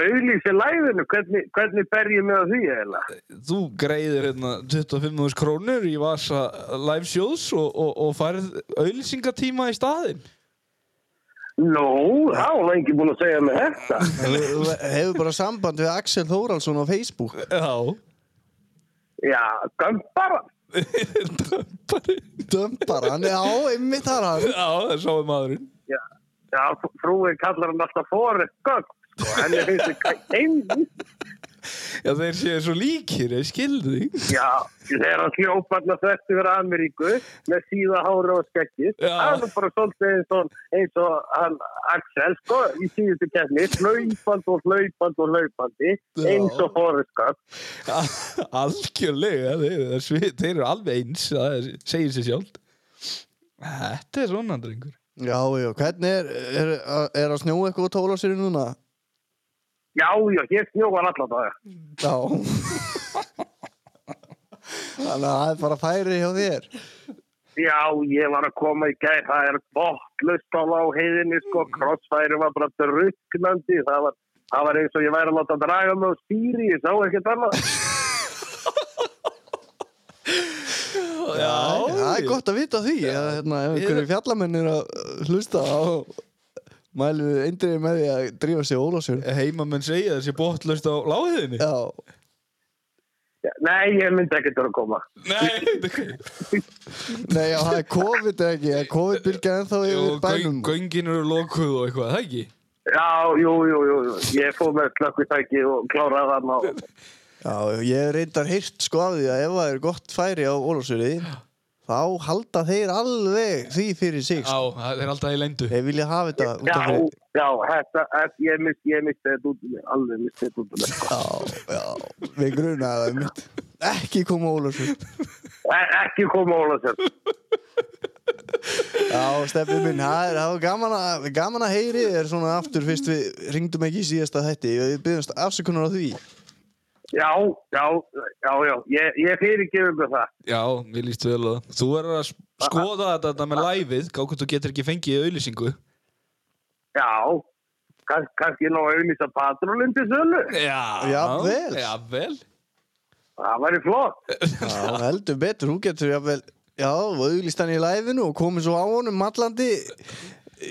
[SPEAKER 3] auðlýsi læfinu, hvernig, hvernig ber ég mig á því eða?
[SPEAKER 2] Þú greiðir hérna 25.000 krónur í vasa live shows og, og, og færð auðlýsingatíma í staðinn.
[SPEAKER 3] Nú, þá var ekki búin að segja mig þetta.
[SPEAKER 1] Þú þú hefur bara samband við Axel Þóraldsson á Facebook.
[SPEAKER 2] Já.
[SPEAKER 3] Já, gömbara.
[SPEAKER 2] Dömpari.
[SPEAKER 1] Dömbar hann, já, einmitt þar hann.
[SPEAKER 2] Já, það sáum maðurinn.
[SPEAKER 3] Já, já frúin kallar hann alltaf Forrest Gump. sko. Henni finnst þetta einn.
[SPEAKER 2] Já, þeir séu svo líkir, ég skildi þig.
[SPEAKER 3] Já, þegar hann hljópa alltaf þvert yfir Ameríku með síða hára og skekkir.
[SPEAKER 2] Já.
[SPEAKER 3] Það er nú bara svolítið eins og, eins og hann Axel, sko, í síðustu kefni, hlaupandi og hlaupandi og hlaupandi, eins og fóruskap.
[SPEAKER 2] Algjörlega, þeir, þeir, svi- þeir eru alveg eins, það er- segir sér sjálf. Þetta er svona drengur.
[SPEAKER 1] Já, já, hvernig er, er, er að snjóa eitthvað og tóla sér núna?
[SPEAKER 3] Já, já, hér snjóðan allan það.
[SPEAKER 1] Já. Þannig að það er bara færi hjá þér.
[SPEAKER 3] Já, ég var að koma í gæð, það er bottlust á lágheiðinni, sko, crossfæri var bara drukknandi, það var, það var eins og ég væri að láta draga mig á stýri, ég sá ekkert annað.
[SPEAKER 2] Já,
[SPEAKER 1] það er gott að vita því að hérna, ef einhverju fjallamennir að hlusta á mælum við eindriði með því að drífa sig ólásur
[SPEAKER 2] Heimamenn segja þessi botlaust á láðiðinni.
[SPEAKER 1] Já,
[SPEAKER 3] Já, Nei, ég myndi ekkert vera að koma.
[SPEAKER 2] Nei, þetta er...
[SPEAKER 1] nei já, það er COVID eða ekki, það er COVID-bylgja ennþá
[SPEAKER 2] og
[SPEAKER 1] yfir bænum
[SPEAKER 2] göngin eru lokuð og eitthvað, það ekki?
[SPEAKER 3] Já, jú, jú, jú, jú. ég fóð með slökkutæki og kláraði hann á...
[SPEAKER 1] Já, ég reyndar hýrt sko af því að ef það er gott færi á ólásuri þá halda þeir alveg því fyrir sig
[SPEAKER 2] Já,
[SPEAKER 1] sko.
[SPEAKER 2] það er alltaf í lendu.
[SPEAKER 1] Þeir vilja hafa þetta út
[SPEAKER 3] Já,
[SPEAKER 1] af fyrir
[SPEAKER 3] já, þetta, þetta, ég misti, ég misti þetta út um mig, alveg misti þetta út um mig. sko.
[SPEAKER 1] Já, já, við grunaði það mitt Ekki koma ólásur
[SPEAKER 3] E ekki koma óla sér.
[SPEAKER 1] Já, stefni minn, það er- það var gaman að, gaman að heyri þér svona aftur fyrst við ringdum ekki í síðasta þætti og við byggjumst afsökunar á því
[SPEAKER 5] Já, já, já, já, ég, ég fyrirgefur mér það.
[SPEAKER 2] Já, mér líst vel á það Þú verður að skoða þetta, þetta með læfið Gá hvort þú getur ekki fengið auðlýsingu
[SPEAKER 5] Já, kann, kannski ná að auðvisa patrólinn til sölu.
[SPEAKER 2] Já,
[SPEAKER 1] Jafnvel.
[SPEAKER 2] Jafnvel.
[SPEAKER 5] Það væri flott.
[SPEAKER 1] Já, heldur betur, hún getur jafnvel Já, og auðlýst hann í læfinu og komið svo á honum mallandi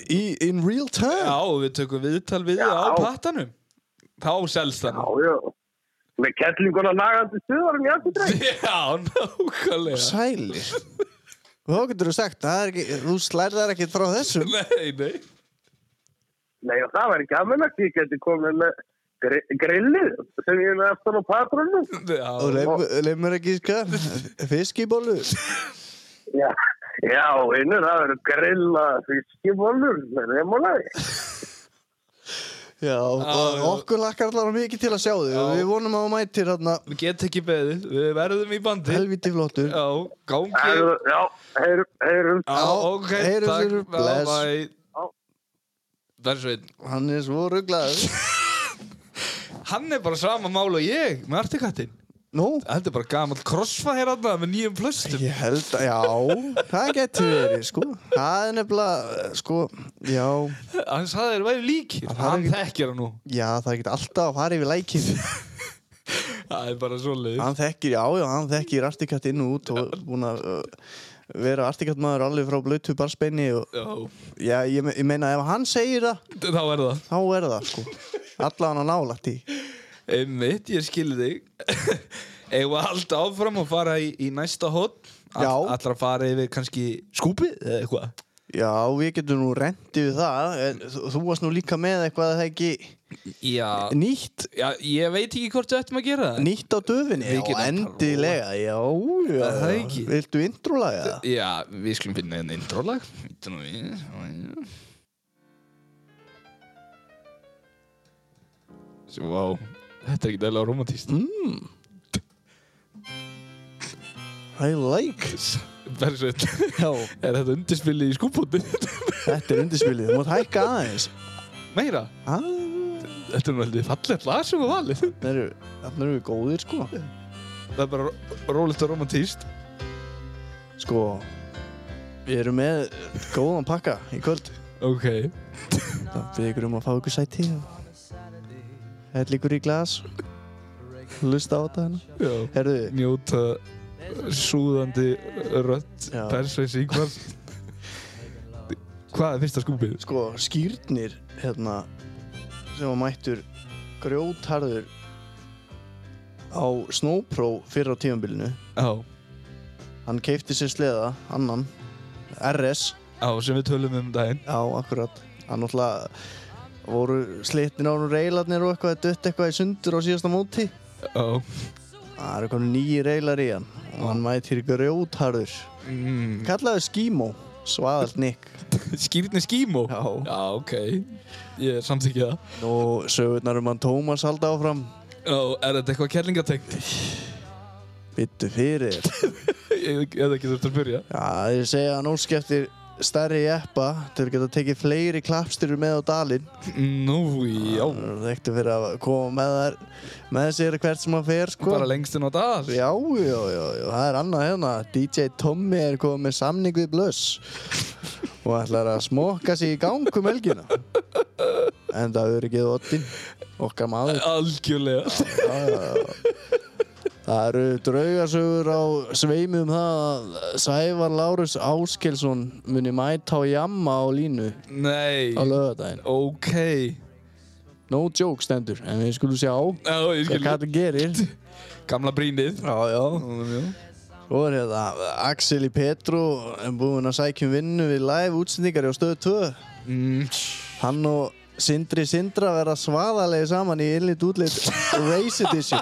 [SPEAKER 1] í, in real
[SPEAKER 2] Já,
[SPEAKER 1] time
[SPEAKER 2] og við tökum viðtal við þig á
[SPEAKER 5] Já.
[SPEAKER 2] pattanum Þá selst hann
[SPEAKER 5] Já, já. Með kettlinguna nagandi stuðarum í allir dreik.
[SPEAKER 2] Já, nákvæmlega
[SPEAKER 1] Sælir Þá getur þú sagt, það er ekki, þú slærðar ekkert frá þessum
[SPEAKER 2] Nei, nei
[SPEAKER 5] Nei, og það væri gaman að ég geti komið með gri grillið sem ég er með aftan á patrólinn.
[SPEAKER 1] Og
[SPEAKER 2] Já,
[SPEAKER 1] leif, leif mér ekki sko, skan Fiskibólu
[SPEAKER 5] Já, já, innur það verður grilla fiskibólur með remulagi.
[SPEAKER 1] Já, og okkur lakkar allavega mikið til að sjá þig og
[SPEAKER 2] Já.
[SPEAKER 1] við vonum að þú mætir þarna
[SPEAKER 2] við getum ekki beðið Við verðum í bandi
[SPEAKER 1] helviti flottur
[SPEAKER 2] Já, gangi
[SPEAKER 5] Já, já, heyrum, heyrum.
[SPEAKER 2] Já,
[SPEAKER 1] Já,
[SPEAKER 2] ok,
[SPEAKER 1] heyrum
[SPEAKER 2] takk
[SPEAKER 1] sér, bless.
[SPEAKER 5] Já.
[SPEAKER 2] Bersveit
[SPEAKER 1] Hann er svo rugglaður
[SPEAKER 2] Hann er bara sama mál og ég með artikattin
[SPEAKER 1] Nú,
[SPEAKER 2] Þetta er bara gamall crossfire aðna með nýjum plöstum
[SPEAKER 1] Ég held að, já, það getur verið, sko. Það er nefnilega, eh, sko, já,
[SPEAKER 2] Hann sagði þér væri líkir
[SPEAKER 1] það er
[SPEAKER 2] Hann
[SPEAKER 1] ekki-
[SPEAKER 2] þekkir hann nú
[SPEAKER 1] já, það er ekkert alltaf að fara yfir lækinn.
[SPEAKER 2] Það er bara svo leið
[SPEAKER 1] Hann þekkir, já, já, hann þekkir artikatt inn og út og er búinn að uh, vera artikattmaður alveg frá blötu barspenni og,
[SPEAKER 2] Já,
[SPEAKER 1] já, ég, me- ég meina, ef hann segir það,
[SPEAKER 2] þá er það
[SPEAKER 1] þá er það, sko. Alla hann að nála tí.
[SPEAKER 2] Einmitt, ég skil þig Eigum við að halda áfram og fara í, í næsta hot
[SPEAKER 1] Já.
[SPEAKER 2] Allar að fara yfir kannski skúpið eða eitthvað
[SPEAKER 1] Já, við getum nú rendið við það, en þú- þú varst nú líka með eitthvað að það ekki
[SPEAKER 2] Já,
[SPEAKER 1] nýtt,
[SPEAKER 2] já, ég veit ekki hvort þú ættum að gera það
[SPEAKER 1] nýtt á döfinni.
[SPEAKER 2] Við
[SPEAKER 1] Já,
[SPEAKER 2] getum
[SPEAKER 1] endilega, já, já,
[SPEAKER 2] Það er
[SPEAKER 1] já.
[SPEAKER 2] ekki.
[SPEAKER 1] Viltu introlaga það?
[SPEAKER 2] Já, við skulum finna einn intro-lag Vítum nú við Svo, vá Þetta er ekki dæla romantíst
[SPEAKER 1] I like
[SPEAKER 2] Bersveit,
[SPEAKER 1] Já,
[SPEAKER 2] er þetta undirspilið í skúpbóti?
[SPEAKER 1] þetta er undirspilið, þú mátt hækka aðeins
[SPEAKER 2] Meira,
[SPEAKER 1] Ah,
[SPEAKER 2] þetta er nú heldur fallegt lag sem við valið
[SPEAKER 1] Þarna eru- þarna eru við góðir sko
[SPEAKER 2] Það er bara ró- rólegt og romantíst
[SPEAKER 1] Sko Við erum með góðan pakka í kvöld
[SPEAKER 2] Ok
[SPEAKER 1] Það byrði ykkur um að fá ykkur sæti og Hell ykkur í glas Lusta á þetta hérna
[SPEAKER 2] Já.
[SPEAKER 1] Herðu,
[SPEAKER 2] Njóta súðandi rött
[SPEAKER 1] Já.
[SPEAKER 2] Bersveit síkvar Hvað er fyrsta skúpið?
[SPEAKER 1] sko, skýrnir hérna sem var mættur grjótharður á Snowpro fyrir á tífambilinu
[SPEAKER 2] Já,
[SPEAKER 1] Hann keipti sér sleða, annan RS
[SPEAKER 2] já, sem við tölum um daginn
[SPEAKER 1] Já, akkurat. Hann náttúrulega voru slittin á hún reylarnir og eitthvað, dött eitthvað í sundur á síðasta móti.
[SPEAKER 2] Já
[SPEAKER 1] Það eru konur nýji reylar í hann og hann mætir grjótharður.
[SPEAKER 2] mm.
[SPEAKER 1] Kallaðu Skímó, svaðalt nikk.
[SPEAKER 2] Skýrni skímó?
[SPEAKER 1] Já.
[SPEAKER 2] Já, ok. Ég samþykja það.
[SPEAKER 1] Nú sögurnar um hann Tómas halda áfram.
[SPEAKER 2] Já, er þetta eitthvað kellingatengt?
[SPEAKER 1] Bittu fyrir þér.
[SPEAKER 2] Ég hef ekki þurft að spyrja.
[SPEAKER 1] Já, ég segja hann óski eftir stærri jeppa til að geta tekið fleiri klappstyrur með á dalinn.
[SPEAKER 2] Nú, já.
[SPEAKER 1] Hann er þekktu fyrir að koma með þær, með sér hvert sem hann fer, sko.
[SPEAKER 2] Bara lengst inn á dal.
[SPEAKER 1] Já, já, já, já, það er annað hérna DJ Tommy er komið með samning við Blöss og ætlar að smokka sig í gang um helgina en það eru ekki þóttin okkar maður
[SPEAKER 2] Algjörlega.
[SPEAKER 1] já, já, já. Það eru draugasögur á sveimi um það að Sævar Lárus Áskilsson muni mæta á jamma á línu
[SPEAKER 2] Nei.
[SPEAKER 1] á lögadaginn
[SPEAKER 2] Ok.
[SPEAKER 1] No joke stendur, en við skulum sjá
[SPEAKER 2] Já,
[SPEAKER 1] hvað
[SPEAKER 2] ég skil.
[SPEAKER 1] kallið gerir
[SPEAKER 2] Gamla brínið.
[SPEAKER 1] Já, já
[SPEAKER 2] Honum, já.
[SPEAKER 1] Svo er þetta Axel í Petru en búinn að sækjum vinnu við live útsendingar á stöðu 2
[SPEAKER 2] Mm.
[SPEAKER 1] Hann og Sindri Sindra verða svaðalegi saman í innlit útlit Race Edition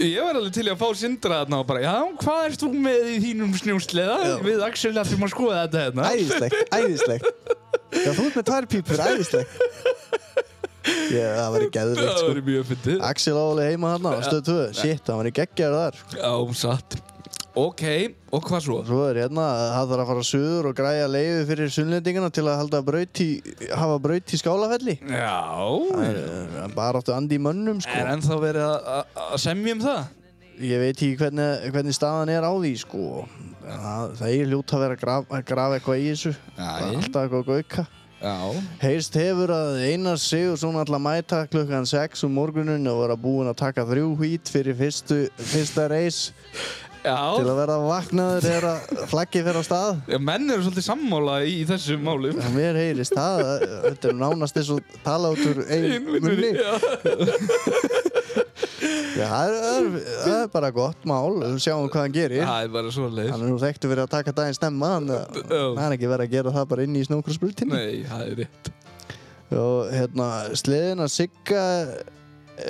[SPEAKER 2] Ég var alveg til í að fá sindra þarna og bara, já, hvað ert þú með í þínum snjósleða? Við Axel ætlum að skoða þetta hérna.
[SPEAKER 1] Æðislegt, æðislegt Já, þú ert með tvær pípur, æðislegt Já, það var í geðvikt
[SPEAKER 2] Það
[SPEAKER 1] sko
[SPEAKER 2] verður mjög fyndið.
[SPEAKER 1] Axel álega heima hann á stöðu 2 Shit, hann var í geggjaður þar
[SPEAKER 2] Já, satt. Ok, og hvað svo?
[SPEAKER 1] Svo er hérna að það þarf að fara suður og græja leiði fyrir sunnlendingana til að halda braut í, hafa braut í skálafelli.
[SPEAKER 2] Já, Mm.
[SPEAKER 1] Það er bara áttu andi í mönnum sko.
[SPEAKER 2] er ennþá verið að- að að semja um það?
[SPEAKER 1] Ég veit ekki hvernig, hvernig staðan er á því sko. Það, það er ljúta að vera að grafa, að grafa eitthvað í þessu. Það er
[SPEAKER 2] já.
[SPEAKER 1] alltaf eitthvað að gauka.
[SPEAKER 2] Já,
[SPEAKER 1] Heyrst hefur að Einar Sigursson ætla að mæta klukkan 6 um morgunin og vera búinn að taka þrjú hvít fyrir fyrstu, fyrsta reis til
[SPEAKER 2] já
[SPEAKER 1] að vera vaknaður þegar að flaggi fer á stað.
[SPEAKER 2] menn eru svolítið sammála í, í þessum málum
[SPEAKER 1] En Mér heyrist það, að- þetta er nánast eins og tala út úr einn munni.
[SPEAKER 2] Já.
[SPEAKER 1] Já, það, er, það, er, það er bara gott mál, við sjáum hvað hann gerir.
[SPEAKER 2] Það er bara svo
[SPEAKER 1] Hann er nú þekktu fyrir að taka daginn stemma, hann hann er ekki verið að gera það bara inn í snókursbrutinni.
[SPEAKER 2] Nei, það er rétt
[SPEAKER 1] Og hérna, sleðin að Sigga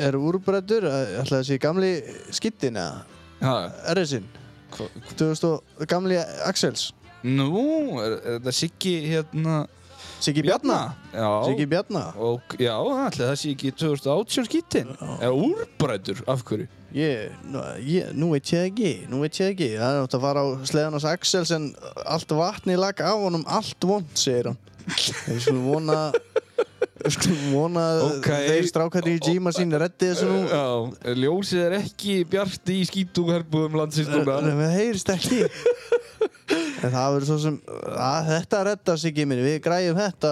[SPEAKER 1] er úrbrættur, alltaf þessi gamli skittin eða,
[SPEAKER 2] Já,
[SPEAKER 1] RS-in,
[SPEAKER 2] hva-
[SPEAKER 1] 2000 og gamli Axels,
[SPEAKER 2] Nú, er, er þetta Siggi hérna
[SPEAKER 1] Siggi Bjarna.
[SPEAKER 2] Já
[SPEAKER 1] Siggi Bjarna,
[SPEAKER 2] Og, já, ætli það sé ekki 2018 skýttin Eða úrbrætur, af hverju
[SPEAKER 1] ég, nú, ég, nú veit ég ekki, nú veit ég ekki, það er nátt að fara á sleðan hans Axels en allt vatni lag á honum, allt vond, segir hann. Ég skulle vona, ég skulle vona að
[SPEAKER 2] Ok.
[SPEAKER 1] þeir strákarnir í Gima sín reddi þessu nú.
[SPEAKER 2] Já, ljósið er ekki bjart í skítúherbúðum landsins núna
[SPEAKER 1] Það heyrist ekki En það verður svo sem að, Þetta redda sig ekki minn Við græjum þetta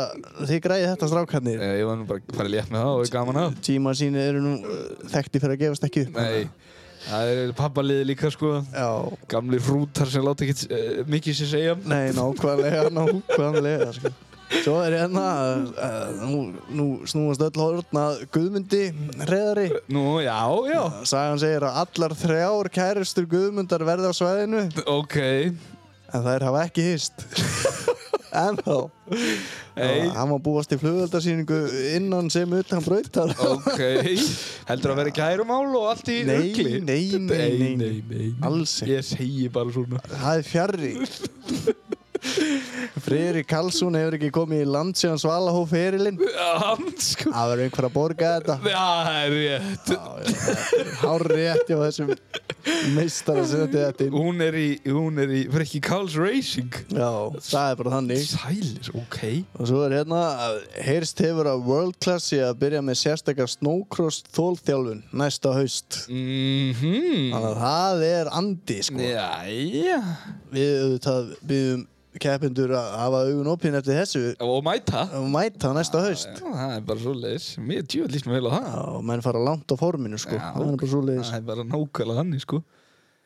[SPEAKER 1] Þið græjum þetta strákarnir
[SPEAKER 2] Eh, Ég var nú bara að fara létt með það og er gaman að
[SPEAKER 1] Tíma sín eru nú uh, þekkti fyrir að gefast ekki upp
[SPEAKER 2] Nei, það er pappaliði líka sko
[SPEAKER 1] Já
[SPEAKER 2] Gamli hrútar sem láta ekki uh, mikið sér segja
[SPEAKER 1] Nei, nákvæmlega, nákvæmlega sko. Svo er hérna uh, nú, nú snúast öll horfna Guðmundi reyðari
[SPEAKER 2] Nú, já, já
[SPEAKER 1] Sagan segir að allar þrjár kærustur Guðmundar verði á svæðinu
[SPEAKER 2] Ok,
[SPEAKER 1] En þær hafa ekki hist Ennþá Já,
[SPEAKER 2] Nei.
[SPEAKER 1] Hann var búast í flugöldarsýningu innan sem utan brautar
[SPEAKER 2] ok Heldur að vera kærumál og allt í
[SPEAKER 1] Nei,
[SPEAKER 2] rugli?
[SPEAKER 1] nei, nei, nei,
[SPEAKER 2] nei, nei.
[SPEAKER 1] Alls ekki.
[SPEAKER 2] Ég segi bara svona
[SPEAKER 1] Það er fjarrri Friðri Karlsson hefur ekki komið í land síðan Svalahóf ferilinn
[SPEAKER 2] Hann sko
[SPEAKER 1] Það verður einhver að borga þetta
[SPEAKER 2] Já, það er rétt
[SPEAKER 1] Hár rétti á þessum meistara sem þetta er þetta inn
[SPEAKER 2] Hún er í, hún er í Freki Karls Racing
[SPEAKER 1] Já, það er bara þannig
[SPEAKER 2] Sælir, ok
[SPEAKER 1] Og svo er hérna að heyrst hefur að World Class sé að byrja með sérstakar snowcross þólþjálfun næsta haust
[SPEAKER 2] Mhm
[SPEAKER 1] Þannig að það er andi sko
[SPEAKER 2] Jæja
[SPEAKER 1] við auðvitað byggum keppindur að hafa augun opinn eftir þessu
[SPEAKER 2] Og mæta Já,
[SPEAKER 1] og mæta næsta haust
[SPEAKER 2] Það er bara svo leiðis Mér djúið líst mér vel á það
[SPEAKER 1] Já, og menn fara langt á forminu sko
[SPEAKER 2] Já,
[SPEAKER 1] það er bara svo leiðis
[SPEAKER 2] Það er bara nákvæmlega þannig sko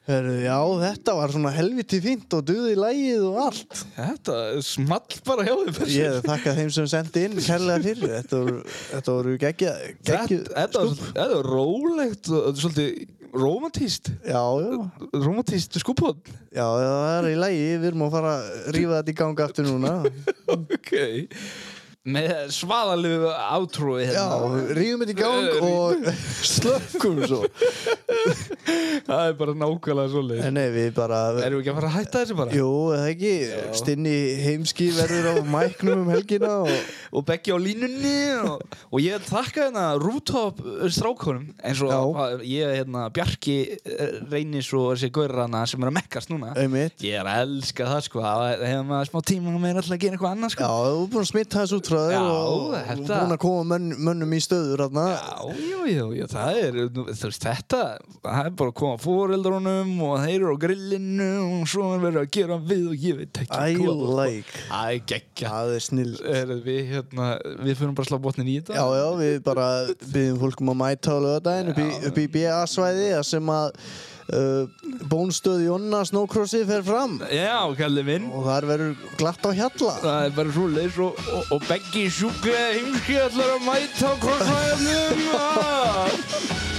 [SPEAKER 1] Já, þetta var svona helviti fínt og duði lægið og allt
[SPEAKER 2] Þetta er small bara hjá þér Persi.
[SPEAKER 1] Ég þakka þeim sem sendi inn kærlega fyrir þetta voru, þetta voru geggja,
[SPEAKER 2] Þetta
[SPEAKER 1] geggju
[SPEAKER 2] þetta var svolítið- þetta var rólegt og þetta er svolítið romantíst
[SPEAKER 1] Já, já,
[SPEAKER 2] romantíst skupot
[SPEAKER 1] já, það er í lægi við erum að fara að rífa þetta í ganga aftur núna
[SPEAKER 2] Ok Með svaðalegu átrúi
[SPEAKER 1] Já,
[SPEAKER 2] hérna
[SPEAKER 1] rífum þetta í gang og slökkum svo
[SPEAKER 2] Það er bara nákvæmlega svolítið
[SPEAKER 1] En nei, við bara
[SPEAKER 2] Erum við ekki að fara að hætta þessu bara?
[SPEAKER 1] Jú, er það ekki, Stinni heimski verður á mæknum um helgina og
[SPEAKER 2] Og beggi á línunni og, og ég þakka hérna rooftop uh, strákunum eins og
[SPEAKER 1] Já.
[SPEAKER 2] að, ég hérna Bjarki uh, reynir svo þessi gaurana sem er að mekkast núna
[SPEAKER 1] einmitt.
[SPEAKER 2] Ég er að elska það sko Það hefur maður smá tíma og meira alltaf að gera eitthvað
[SPEAKER 1] Já,
[SPEAKER 2] annað sko
[SPEAKER 1] þú er búin að smitta þessu útráður
[SPEAKER 2] Já,
[SPEAKER 1] og
[SPEAKER 2] þetta-
[SPEAKER 1] og búin að koma mönn, mönnum í stöður þarna.
[SPEAKER 2] Já, jú, jú, jú, það er, nú, þú veist, þetta, það er bara að koma fóreldrunum og þeir eru á grillinu og svo er verið að gera við og ég veit ekki.
[SPEAKER 1] I
[SPEAKER 2] hvað.
[SPEAKER 1] like.
[SPEAKER 2] Æ, geggja.
[SPEAKER 1] Það er snill.
[SPEAKER 2] Er, við, hérna, við fyrir bara að slá botnin í þetta.
[SPEAKER 1] Já, já, við bara byggjum fólk um að mæta á lögadaginn upp, í- upp í BA-svæði þar sem að uh, bónstöð Jonna Snowcrossi fer fram
[SPEAKER 2] Já, kallið minn.
[SPEAKER 1] og þar verður glatt á hjalla.
[SPEAKER 2] Það er bara svo leiðis og, og, og beggi sjúklega heimski allar að mæta á krossvæðanum. Ah,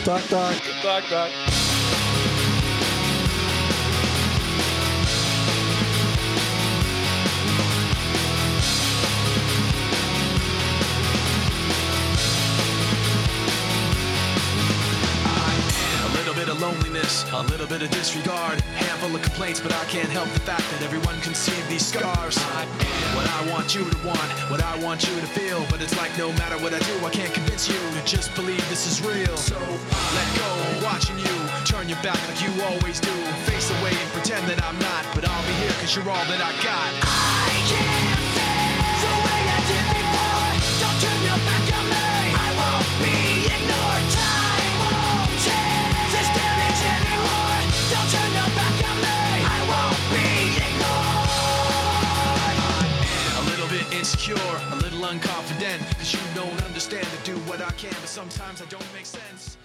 [SPEAKER 1] Takk, takk.
[SPEAKER 2] takk, takk.
[SPEAKER 6] A little bit of loneliness, a A little bit of disregard, handful of complaints, but I can't help the fact that everyone can see these scars. I am what I want you to want, what I want you to feel, but it's like no matter what I do, I can't convince you to just believe this is real. So let go, I'm watching you turn your back like you always do, face away and pretend that I'm not, but I'll be here cause you're all that I got. A little bit insecure, a little unconfident, cause you don't understand to do what I can, but sometimes I don't make sense.